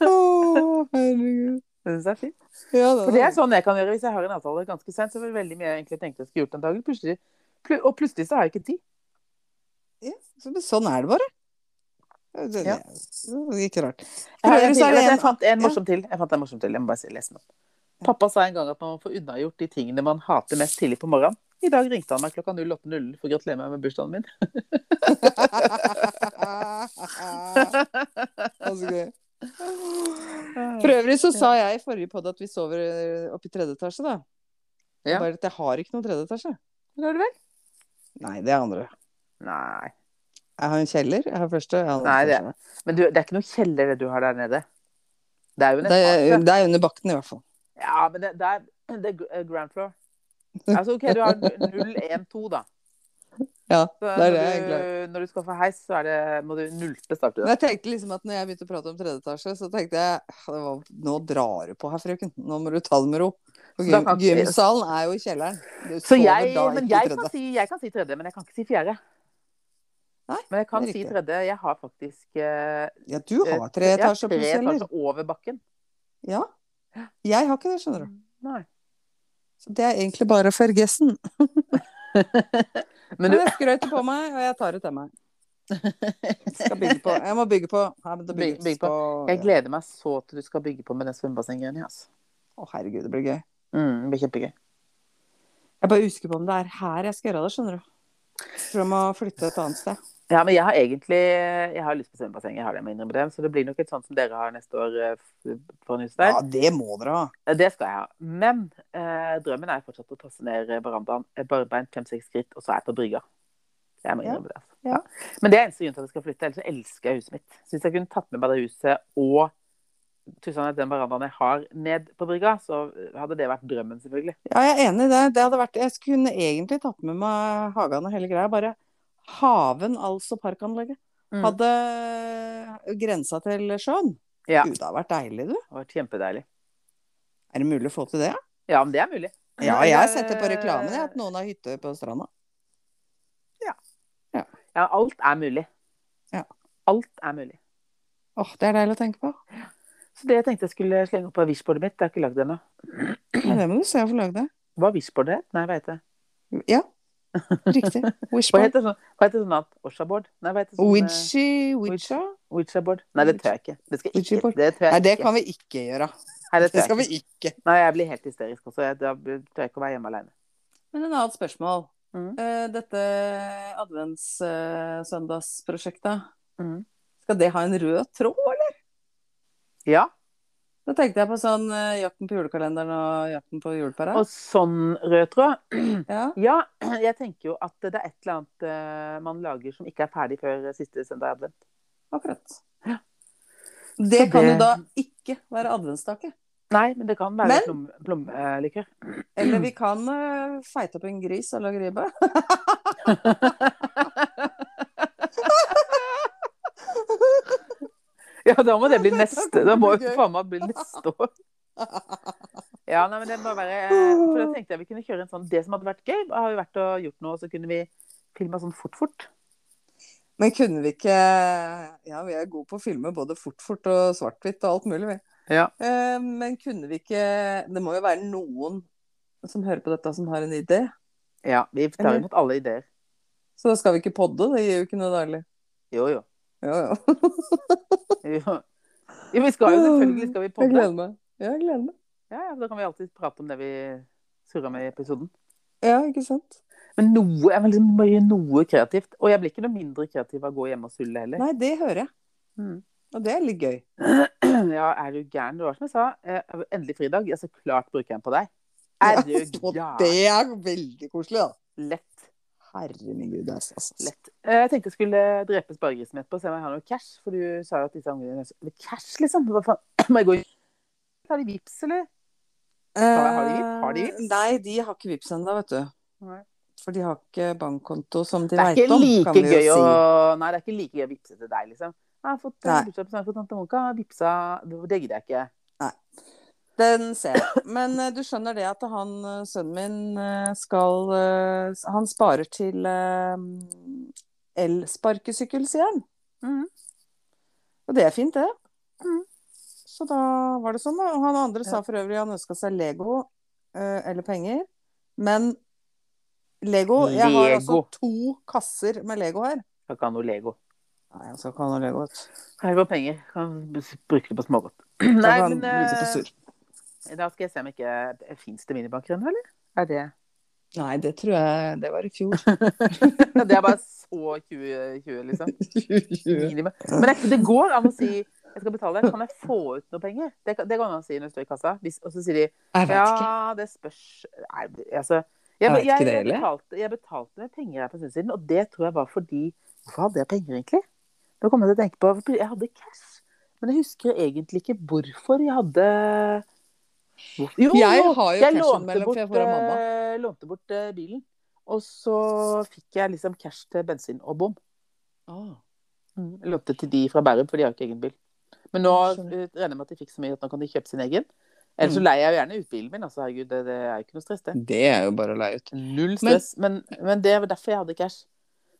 Speaker 1: Å, herregud.
Speaker 2: Det synes jeg er fint.
Speaker 1: Ja,
Speaker 2: For det er sånn jeg kan gjøre hvis jeg har en avtale ganske sent. Så er det veldig mye jeg egentlig tenkte jeg skulle gjort den dagen. Plutselig, pl og plutselig så har jeg ikke tid.
Speaker 1: ja, så- men sånn er det bare. Det, det,
Speaker 2: Ja.
Speaker 1: det er ikke rart.
Speaker 2: Jeg, har en
Speaker 1: Prøver, så er det
Speaker 2: til, vet du,
Speaker 1: en-
Speaker 2: jeg fant en morsom til. Jeg fant en morsom til. Jeg må bare si- lese den opp. Pappa sa en gang at man må få unnagjort de tingene man hater mest tidlig på morgenen. I dag ringte han meg klokka 08.00 for å gratulere meg med bursdagen min.
Speaker 1: Altså, gøy. For øvrig så sa jeg i forrige podd at vi sover eh, oppe i tredje etasje, da.
Speaker 2: Ja.
Speaker 1: Bare at jeg har ikke noen tredje etasje.
Speaker 2: Gjør du vel?
Speaker 1: Nei, det er andre.
Speaker 2: Nei.
Speaker 1: Jeg har en kjeller. Jeg har første. Jeg har andre
Speaker 2: Nei, det-
Speaker 1: etasje.
Speaker 2: Men du, det er ikke noe kjeller det du har der nede. Det er jo en
Speaker 1: Det er,
Speaker 2: etasje.
Speaker 1: det er under bakken, i hvert fall.
Speaker 2: Ja, men det, det, er, det er gr- eh, ground floor. Altså, OK, du har 012, da.
Speaker 1: Ja,
Speaker 2: Så
Speaker 1: det er det
Speaker 2: når
Speaker 1: jeg er
Speaker 2: du-
Speaker 1: glad i.
Speaker 2: Når du skal få heis, så er det, må du nulte starte.
Speaker 1: Men
Speaker 2: Da.
Speaker 1: jeg tenkte liksom at når jeg begynte å prate om tredje etasje, så tenkte jeg "Ah, det var, Nå drar du på her, frøken. Nå må du ta det med ro. Og
Speaker 2: Så da
Speaker 1: gym,
Speaker 2: kan ikke vi-
Speaker 1: gymsalen er jo i kjelleren. Du
Speaker 2: Så
Speaker 1: sover
Speaker 2: jeg,
Speaker 1: da ikke
Speaker 2: men
Speaker 1: i
Speaker 2: jeg,
Speaker 1: tredje.
Speaker 2: kan si, jeg kan si tredje, men jeg kan ikke si fjerde.
Speaker 1: Nei,
Speaker 2: men jeg kan
Speaker 1: det er
Speaker 2: si
Speaker 1: riktig.
Speaker 2: tredje. Jeg har faktisk eh,
Speaker 1: Ja, du har tre
Speaker 2: jeg har
Speaker 1: etasjer
Speaker 2: tre
Speaker 1: pluss, eller?
Speaker 2: etasjer over bakken. Mm,
Speaker 1: Ja. Jeg har ikke det, skjønner du.
Speaker 2: Nei.
Speaker 1: Så det er egentlig bare Fergessen.
Speaker 2: Men du,
Speaker 1: jeg skrøt på meg, og jeg tar det til meg. Skal bygge på. Jeg må bygge på. Her må det
Speaker 2: Bygg-
Speaker 1: bygges
Speaker 2: bygg på.
Speaker 1: på.
Speaker 2: jeg gleder meg så til du skal bygge på med den svømmebassengreia. Altså.
Speaker 1: Å, herregud, det blir gøy.
Speaker 2: Mm, det blir kjempegøy.
Speaker 1: Jeg bare husker på om det er her jeg skal gjøre det, skjønner du. Jeg tror jeg må flytte et annet sted.
Speaker 2: Ja, men jeg har egentlig jeg har lyst på svømmebasseng, jeg har det, jeg må innrømme det. Så det blir nok et sånt som dere har neste år eh, f- foran huset der.
Speaker 1: Ja, det må dere ha.
Speaker 2: Eh, Det skal jeg ha. Men eh, drømmen er fortsatt å tasse ned eh, verandaen, eh, barbeint fem-seks skritt, og så er jeg på brygga. Jeg må
Speaker 1: Ja.
Speaker 2: innrømme det. Altså.
Speaker 1: Ja.
Speaker 2: Men det er eneste grunn til at jeg skal flytte, ellers så elsker jeg huset mitt. Så hvis jeg kunne tatt med meg det huset og tusen at den verandaen jeg har ned på brygga, så hadde det vært drømmen, selvfølgelig.
Speaker 1: Ja, jeg er enig i det. det hadde vært, jeg kunne egentlig tatt med meg hagen og hele greia. Bare haven, altså parkanlegget.
Speaker 2: Mm.
Speaker 1: Hadde grensa til sjøen.
Speaker 2: Ja.
Speaker 1: Gud, det hadde vært deilig, du.
Speaker 2: Det hadde vært kjempedeilig.
Speaker 1: Er det mulig å få til det?
Speaker 2: Ja, men det er mulig.
Speaker 1: Ja, jeg har sett det på reklamen, jeg, at noen har hytte på stranda.
Speaker 2: Ja, alt er mulig.
Speaker 1: Ja.
Speaker 2: Alt er mulig.
Speaker 1: Åh, det er deilig å tenke på.
Speaker 2: Så det jeg tenkte jeg skulle slenge opp på visjbordet mitt, det har jeg ikke lagd ennå.
Speaker 1: Men Det må du se og få lagd det.
Speaker 2: Hva er visjbordet? het? Nei, hva heter det?
Speaker 1: Ja, riktig.
Speaker 2: Hva
Speaker 1: Wishboard.
Speaker 2: heter sånn, hva heter sånn annet? Oshaboard? Nei, hva heter sånn? eh,
Speaker 1: Witchy, witcha.
Speaker 2: Witchaboard? Nei, det tør jeg ikke. Det, skal ikke,
Speaker 1: Witchaboard.
Speaker 2: det tør jeg
Speaker 1: Nei, det
Speaker 2: ikke.
Speaker 1: kan vi ikke gjøre.
Speaker 2: Nei, det tør
Speaker 1: Det
Speaker 2: jeg
Speaker 1: skal
Speaker 2: ikke.
Speaker 1: vi ikke.
Speaker 2: Nei, jeg blir helt hysterisk også. Jeg, da tør jeg ikke å være hjemme alene.
Speaker 1: Men en annet spørsmål.
Speaker 2: Mhm.
Speaker 1: Eh, Dette adventssøndagsprosjektet,
Speaker 2: Mm.
Speaker 1: skal det ha en rød tråd, eller?
Speaker 2: Ja,
Speaker 1: Da tenkte jeg på sånn eh, jakten på julekalenderen og jakten på julepæra.
Speaker 2: og sånn rød tråd.
Speaker 1: Ja.
Speaker 2: Ja, jeg tenker jo at det er et eller annet eh, man lager som ikke er ferdig før siste søndag i advent.
Speaker 1: Akkurat. Det kan
Speaker 2: det-
Speaker 1: jo da ikke være adventstake.
Speaker 2: Nei, men det kan være
Speaker 1: Men-
Speaker 2: plom- blomlikør.
Speaker 1: Eller vi kan eh, feite opp en gris og lage ribbe.
Speaker 2: ja, da må det bli neste. Da må
Speaker 1: Det
Speaker 2: jo
Speaker 1: er
Speaker 2: faen meg bli neste år. Ja, nei, men det må være eh, For da tenkte jeg vi kunne kjøre en sånn Det som hadde vært gøy, har jo vært å gjort noe, så kunne vi filma sånn fort-fort.
Speaker 1: Men kunne vi ikke Ja, vi er gode på å filme både fort-fort og svart-hvitt og alt mulig, vi.
Speaker 2: Ja.
Speaker 1: Eh, Men kunne vi ikke Det må jo være noen som hører på dette, som har en idé.
Speaker 2: Ja, vi tar imot alle ideer.
Speaker 1: Så da skal vi ikke podde, det gir jo ikke noe dårlig.
Speaker 2: Jo, jo.
Speaker 1: Jo, jo.
Speaker 2: jo. Jo, vi skal jo selvfølgelig skal vi
Speaker 1: Jeg
Speaker 2: podde.
Speaker 1: gleder meg. Ja, jeg gleder meg.
Speaker 2: Ja, ja, da kan vi alltid prate om det vi surra med i episoden.
Speaker 1: Ja, ikke sant?
Speaker 2: Men noe, jeg vil liksom bare gjøre noe kreativt. Og jeg blir ikke noe mindre kreativ av å gå hjemme og sulle heller.
Speaker 1: Nei, det hører jeg.
Speaker 2: Mm.
Speaker 1: Og det er litt gøy.
Speaker 2: Ja, er du gæren? Det var som jeg sa, eh, endelig fridag. Ja, så klart bruker jeg den på deg. Er du
Speaker 1: Og
Speaker 2: gæren?
Speaker 1: det er veldig koselig, da.
Speaker 2: Lett.
Speaker 1: Herre min gud, altså. altså.
Speaker 2: Lett. Eh, Jeg tenkte jeg skulle drepe sparegrisen etterpå, se om jeg har noe cash. For du sa jo at disse ungene Men Cash, liksom? Hva faen? Må jeg gå i Har de vips, eller? Har de vips? Har de vips?
Speaker 1: Eh, Nei, de har ikke vips ennå, vet du.
Speaker 2: Nei.
Speaker 1: For de har ikke bankkonto som de
Speaker 2: Det er
Speaker 1: veit
Speaker 2: ikke
Speaker 1: om, kan
Speaker 2: like
Speaker 1: vi jo
Speaker 2: gøy
Speaker 1: si.
Speaker 2: å Nei, det er ikke like gøy å vipse til deg, liksom. Jeg har fått eh,
Speaker 1: Nei.
Speaker 2: bursdag på snart for tante Monica. Vipsa Det gidder jeg ikke.
Speaker 1: Den ser jeg. Men eh, du skjønner det at han, eh, sønnen min, eh, skal eh, s- Han sparer til eh, elsparkesykkel, sier han.
Speaker 2: Mhm.
Speaker 1: Og det er fint, det.
Speaker 2: Mhm.
Speaker 1: Så da var det sånn, da. Og han andre sa for øvrig han ønska seg Lego eh, eller penger. Men Lego Jeg har altså
Speaker 2: Lego.
Speaker 1: to kasser med Lego her.
Speaker 2: Skal ikke ha noe Lego.
Speaker 1: Nei, jeg skal ikke ha noe Lego. vet du.
Speaker 2: Her går penger. Kan bruke det på smågodt.
Speaker 1: Da
Speaker 2: Nei,
Speaker 1: kan han
Speaker 2: men
Speaker 1: bli så
Speaker 2: eh,
Speaker 1: sur.
Speaker 2: Da skal jeg se om ikke Fins det minibanker ennå, eller? Er det
Speaker 1: Nei, det tror jeg Det var i fjor.
Speaker 2: Det er bare så 2020, liksom. Minimum. Men det, det går an å si jeg skal betale, kan jeg få ut noe penger? Det, kan- det går an å si når du står i kassa. Hvis, og så sier de
Speaker 1: Jeg vet ikke.
Speaker 2: ja, det spørs Nei, altså jeg,
Speaker 1: Jeg vet ikke
Speaker 2: jeg,
Speaker 1: det
Speaker 2: jeg,
Speaker 1: heller.
Speaker 2: betalte, jeg betalte med penger her for en stund siden, og det tror jeg var fordi Hvorfor hadde jeg penger, egentlig? Nå kommer jeg til å tenke på Jeg hadde cash. Men Men jeg husker egentlig ikke hvorfor jeg hadde Hvorfor- Jo,
Speaker 1: Jeg
Speaker 2: jo,
Speaker 1: har jo
Speaker 2: jeg
Speaker 1: cashen
Speaker 2: lånte
Speaker 1: mellom for jeg
Speaker 2: bort,
Speaker 1: får av mamma.
Speaker 2: eh, lånte bort eh, bilen. Og så fikk jeg liksom cash til bensin og bom. Mm. Jeg lånte til de fra Bærum, for de har jo ikke egen bil. Men nå
Speaker 1: Ja,
Speaker 2: eh,
Speaker 1: skjønner. Mm.
Speaker 2: regner jeg med at de fikk så mye at nå kan de kjøpe sin egen. Ellers så leier jeg jo gjerne ut bilen min. Altså, herregud, det, det er jo ikke noe stress, det.
Speaker 1: Det er jo bare å leie ut.
Speaker 2: Null stress. Men, men, det var derfor jeg hadde cash.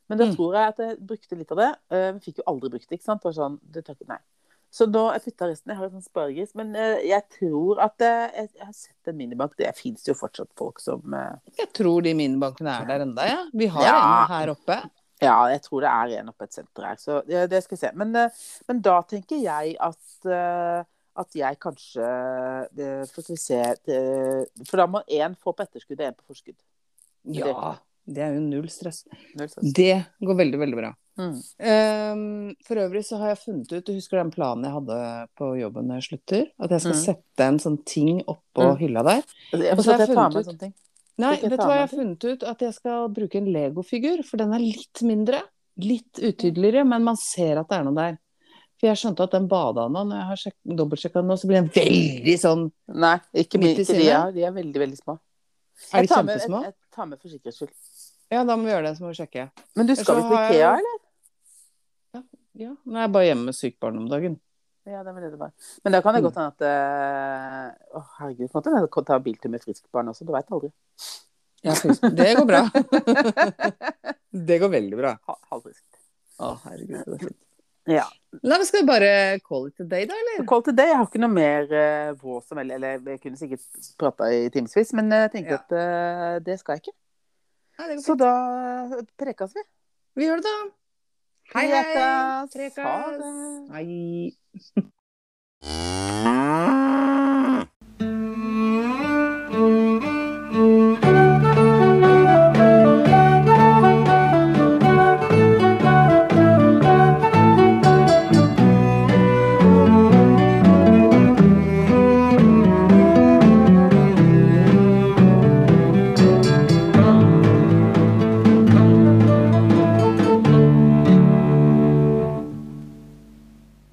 Speaker 2: Men da
Speaker 1: Mm.
Speaker 2: tror jeg at jeg brukte litt av det. eh, Men fikk jo aldri brukt det, ikke sant. Bare sånn, det tar ikke, nei. Så da jeg putta resten. Jeg har en sånn sparegris. Men eh, jeg tror at eh, jeg, jeg har sett en minibank. Det fins jo fortsatt folk som eh,
Speaker 1: Jeg tror de minibankene er der ennå, Ja. Vi har
Speaker 2: Ja.
Speaker 1: en her oppe.
Speaker 2: Ja, jeg tror det er en oppe et senter her, så det, det skal jeg se. Men, eh, men da tenker jeg at, eh, at jeg kanskje det, For skal vi se det, For da må én få på etterskudd og én på forskudd.
Speaker 1: Ja. Det er jo null stress.
Speaker 2: Null stress.
Speaker 1: Det går veldig, veldig bra.
Speaker 2: Mm.
Speaker 1: Ehm, for øvrig så har jeg funnet ut, du husker den planen jeg hadde på jobben når jeg slutter? At jeg skal
Speaker 2: Mm.
Speaker 1: sette en sånn ting oppå
Speaker 2: Mm.
Speaker 1: hylla der.
Speaker 2: Jeg
Speaker 1: Og så har
Speaker 2: forstår at
Speaker 1: jeg
Speaker 2: jeg tar
Speaker 1: funnet
Speaker 2: med
Speaker 1: ut-
Speaker 2: sånne ting.
Speaker 1: Nei, vet
Speaker 2: Hvilken
Speaker 1: du hva jeg
Speaker 2: plan
Speaker 1: har funnet ut? At jeg skal bruke en legofigur, for den er litt mindre. Litt utydeligere, men man ser at det er noe der. For jeg skjønte at den badeanda, når jeg har sjek- dobbeltsjekka den nå, så blir den veldig sånn
Speaker 2: Nei,
Speaker 1: Midt
Speaker 2: ikke,
Speaker 1: i
Speaker 2: min- ikke de
Speaker 1: sinne?
Speaker 2: her. De er veldig, veldig små.
Speaker 1: Er de
Speaker 2: Jeg tar med-
Speaker 1: kjempesmå?
Speaker 2: Jeg, jeg tar med for sikkerhets skyld.
Speaker 1: Ja, da må vi gjøre det, så må vi sjekke.
Speaker 2: Men du
Speaker 1: Jeg
Speaker 2: skal
Speaker 1: så
Speaker 2: visst på
Speaker 1: har jeg-
Speaker 2: Ikea, eller?
Speaker 1: Ja, Nå er jeg bare hjemme med sykt barn om dagen.
Speaker 2: Ja, det var det det var. Men da
Speaker 1: Mm.
Speaker 2: kan det godt hende at eh, Å, herregud. Måtte jeg ta biltur med friskt barn også? Du veit aldri.
Speaker 1: Ja, faktisk. det går bra. det går veldig bra.
Speaker 2: Ha- Halvfriskt.
Speaker 1: Å, herregud, det er fint.
Speaker 2: Ja.
Speaker 1: Nei, men skal vi bare call it a day, da, eller?
Speaker 2: Call til deg. Jeg har ikke noe mer eh, vå som eller, eller jeg kunne sikkert prata i timevis, men jeg tenkte
Speaker 1: Ja.
Speaker 2: at eh, det skal jeg ikke.
Speaker 1: Nei, det går
Speaker 2: Så
Speaker 1: fint.
Speaker 2: da prekas vi.
Speaker 1: Vi gjør det, da. Hei, hei.
Speaker 2: Prekas. Ha
Speaker 1: Prekas.
Speaker 2: det.
Speaker 1: Hei.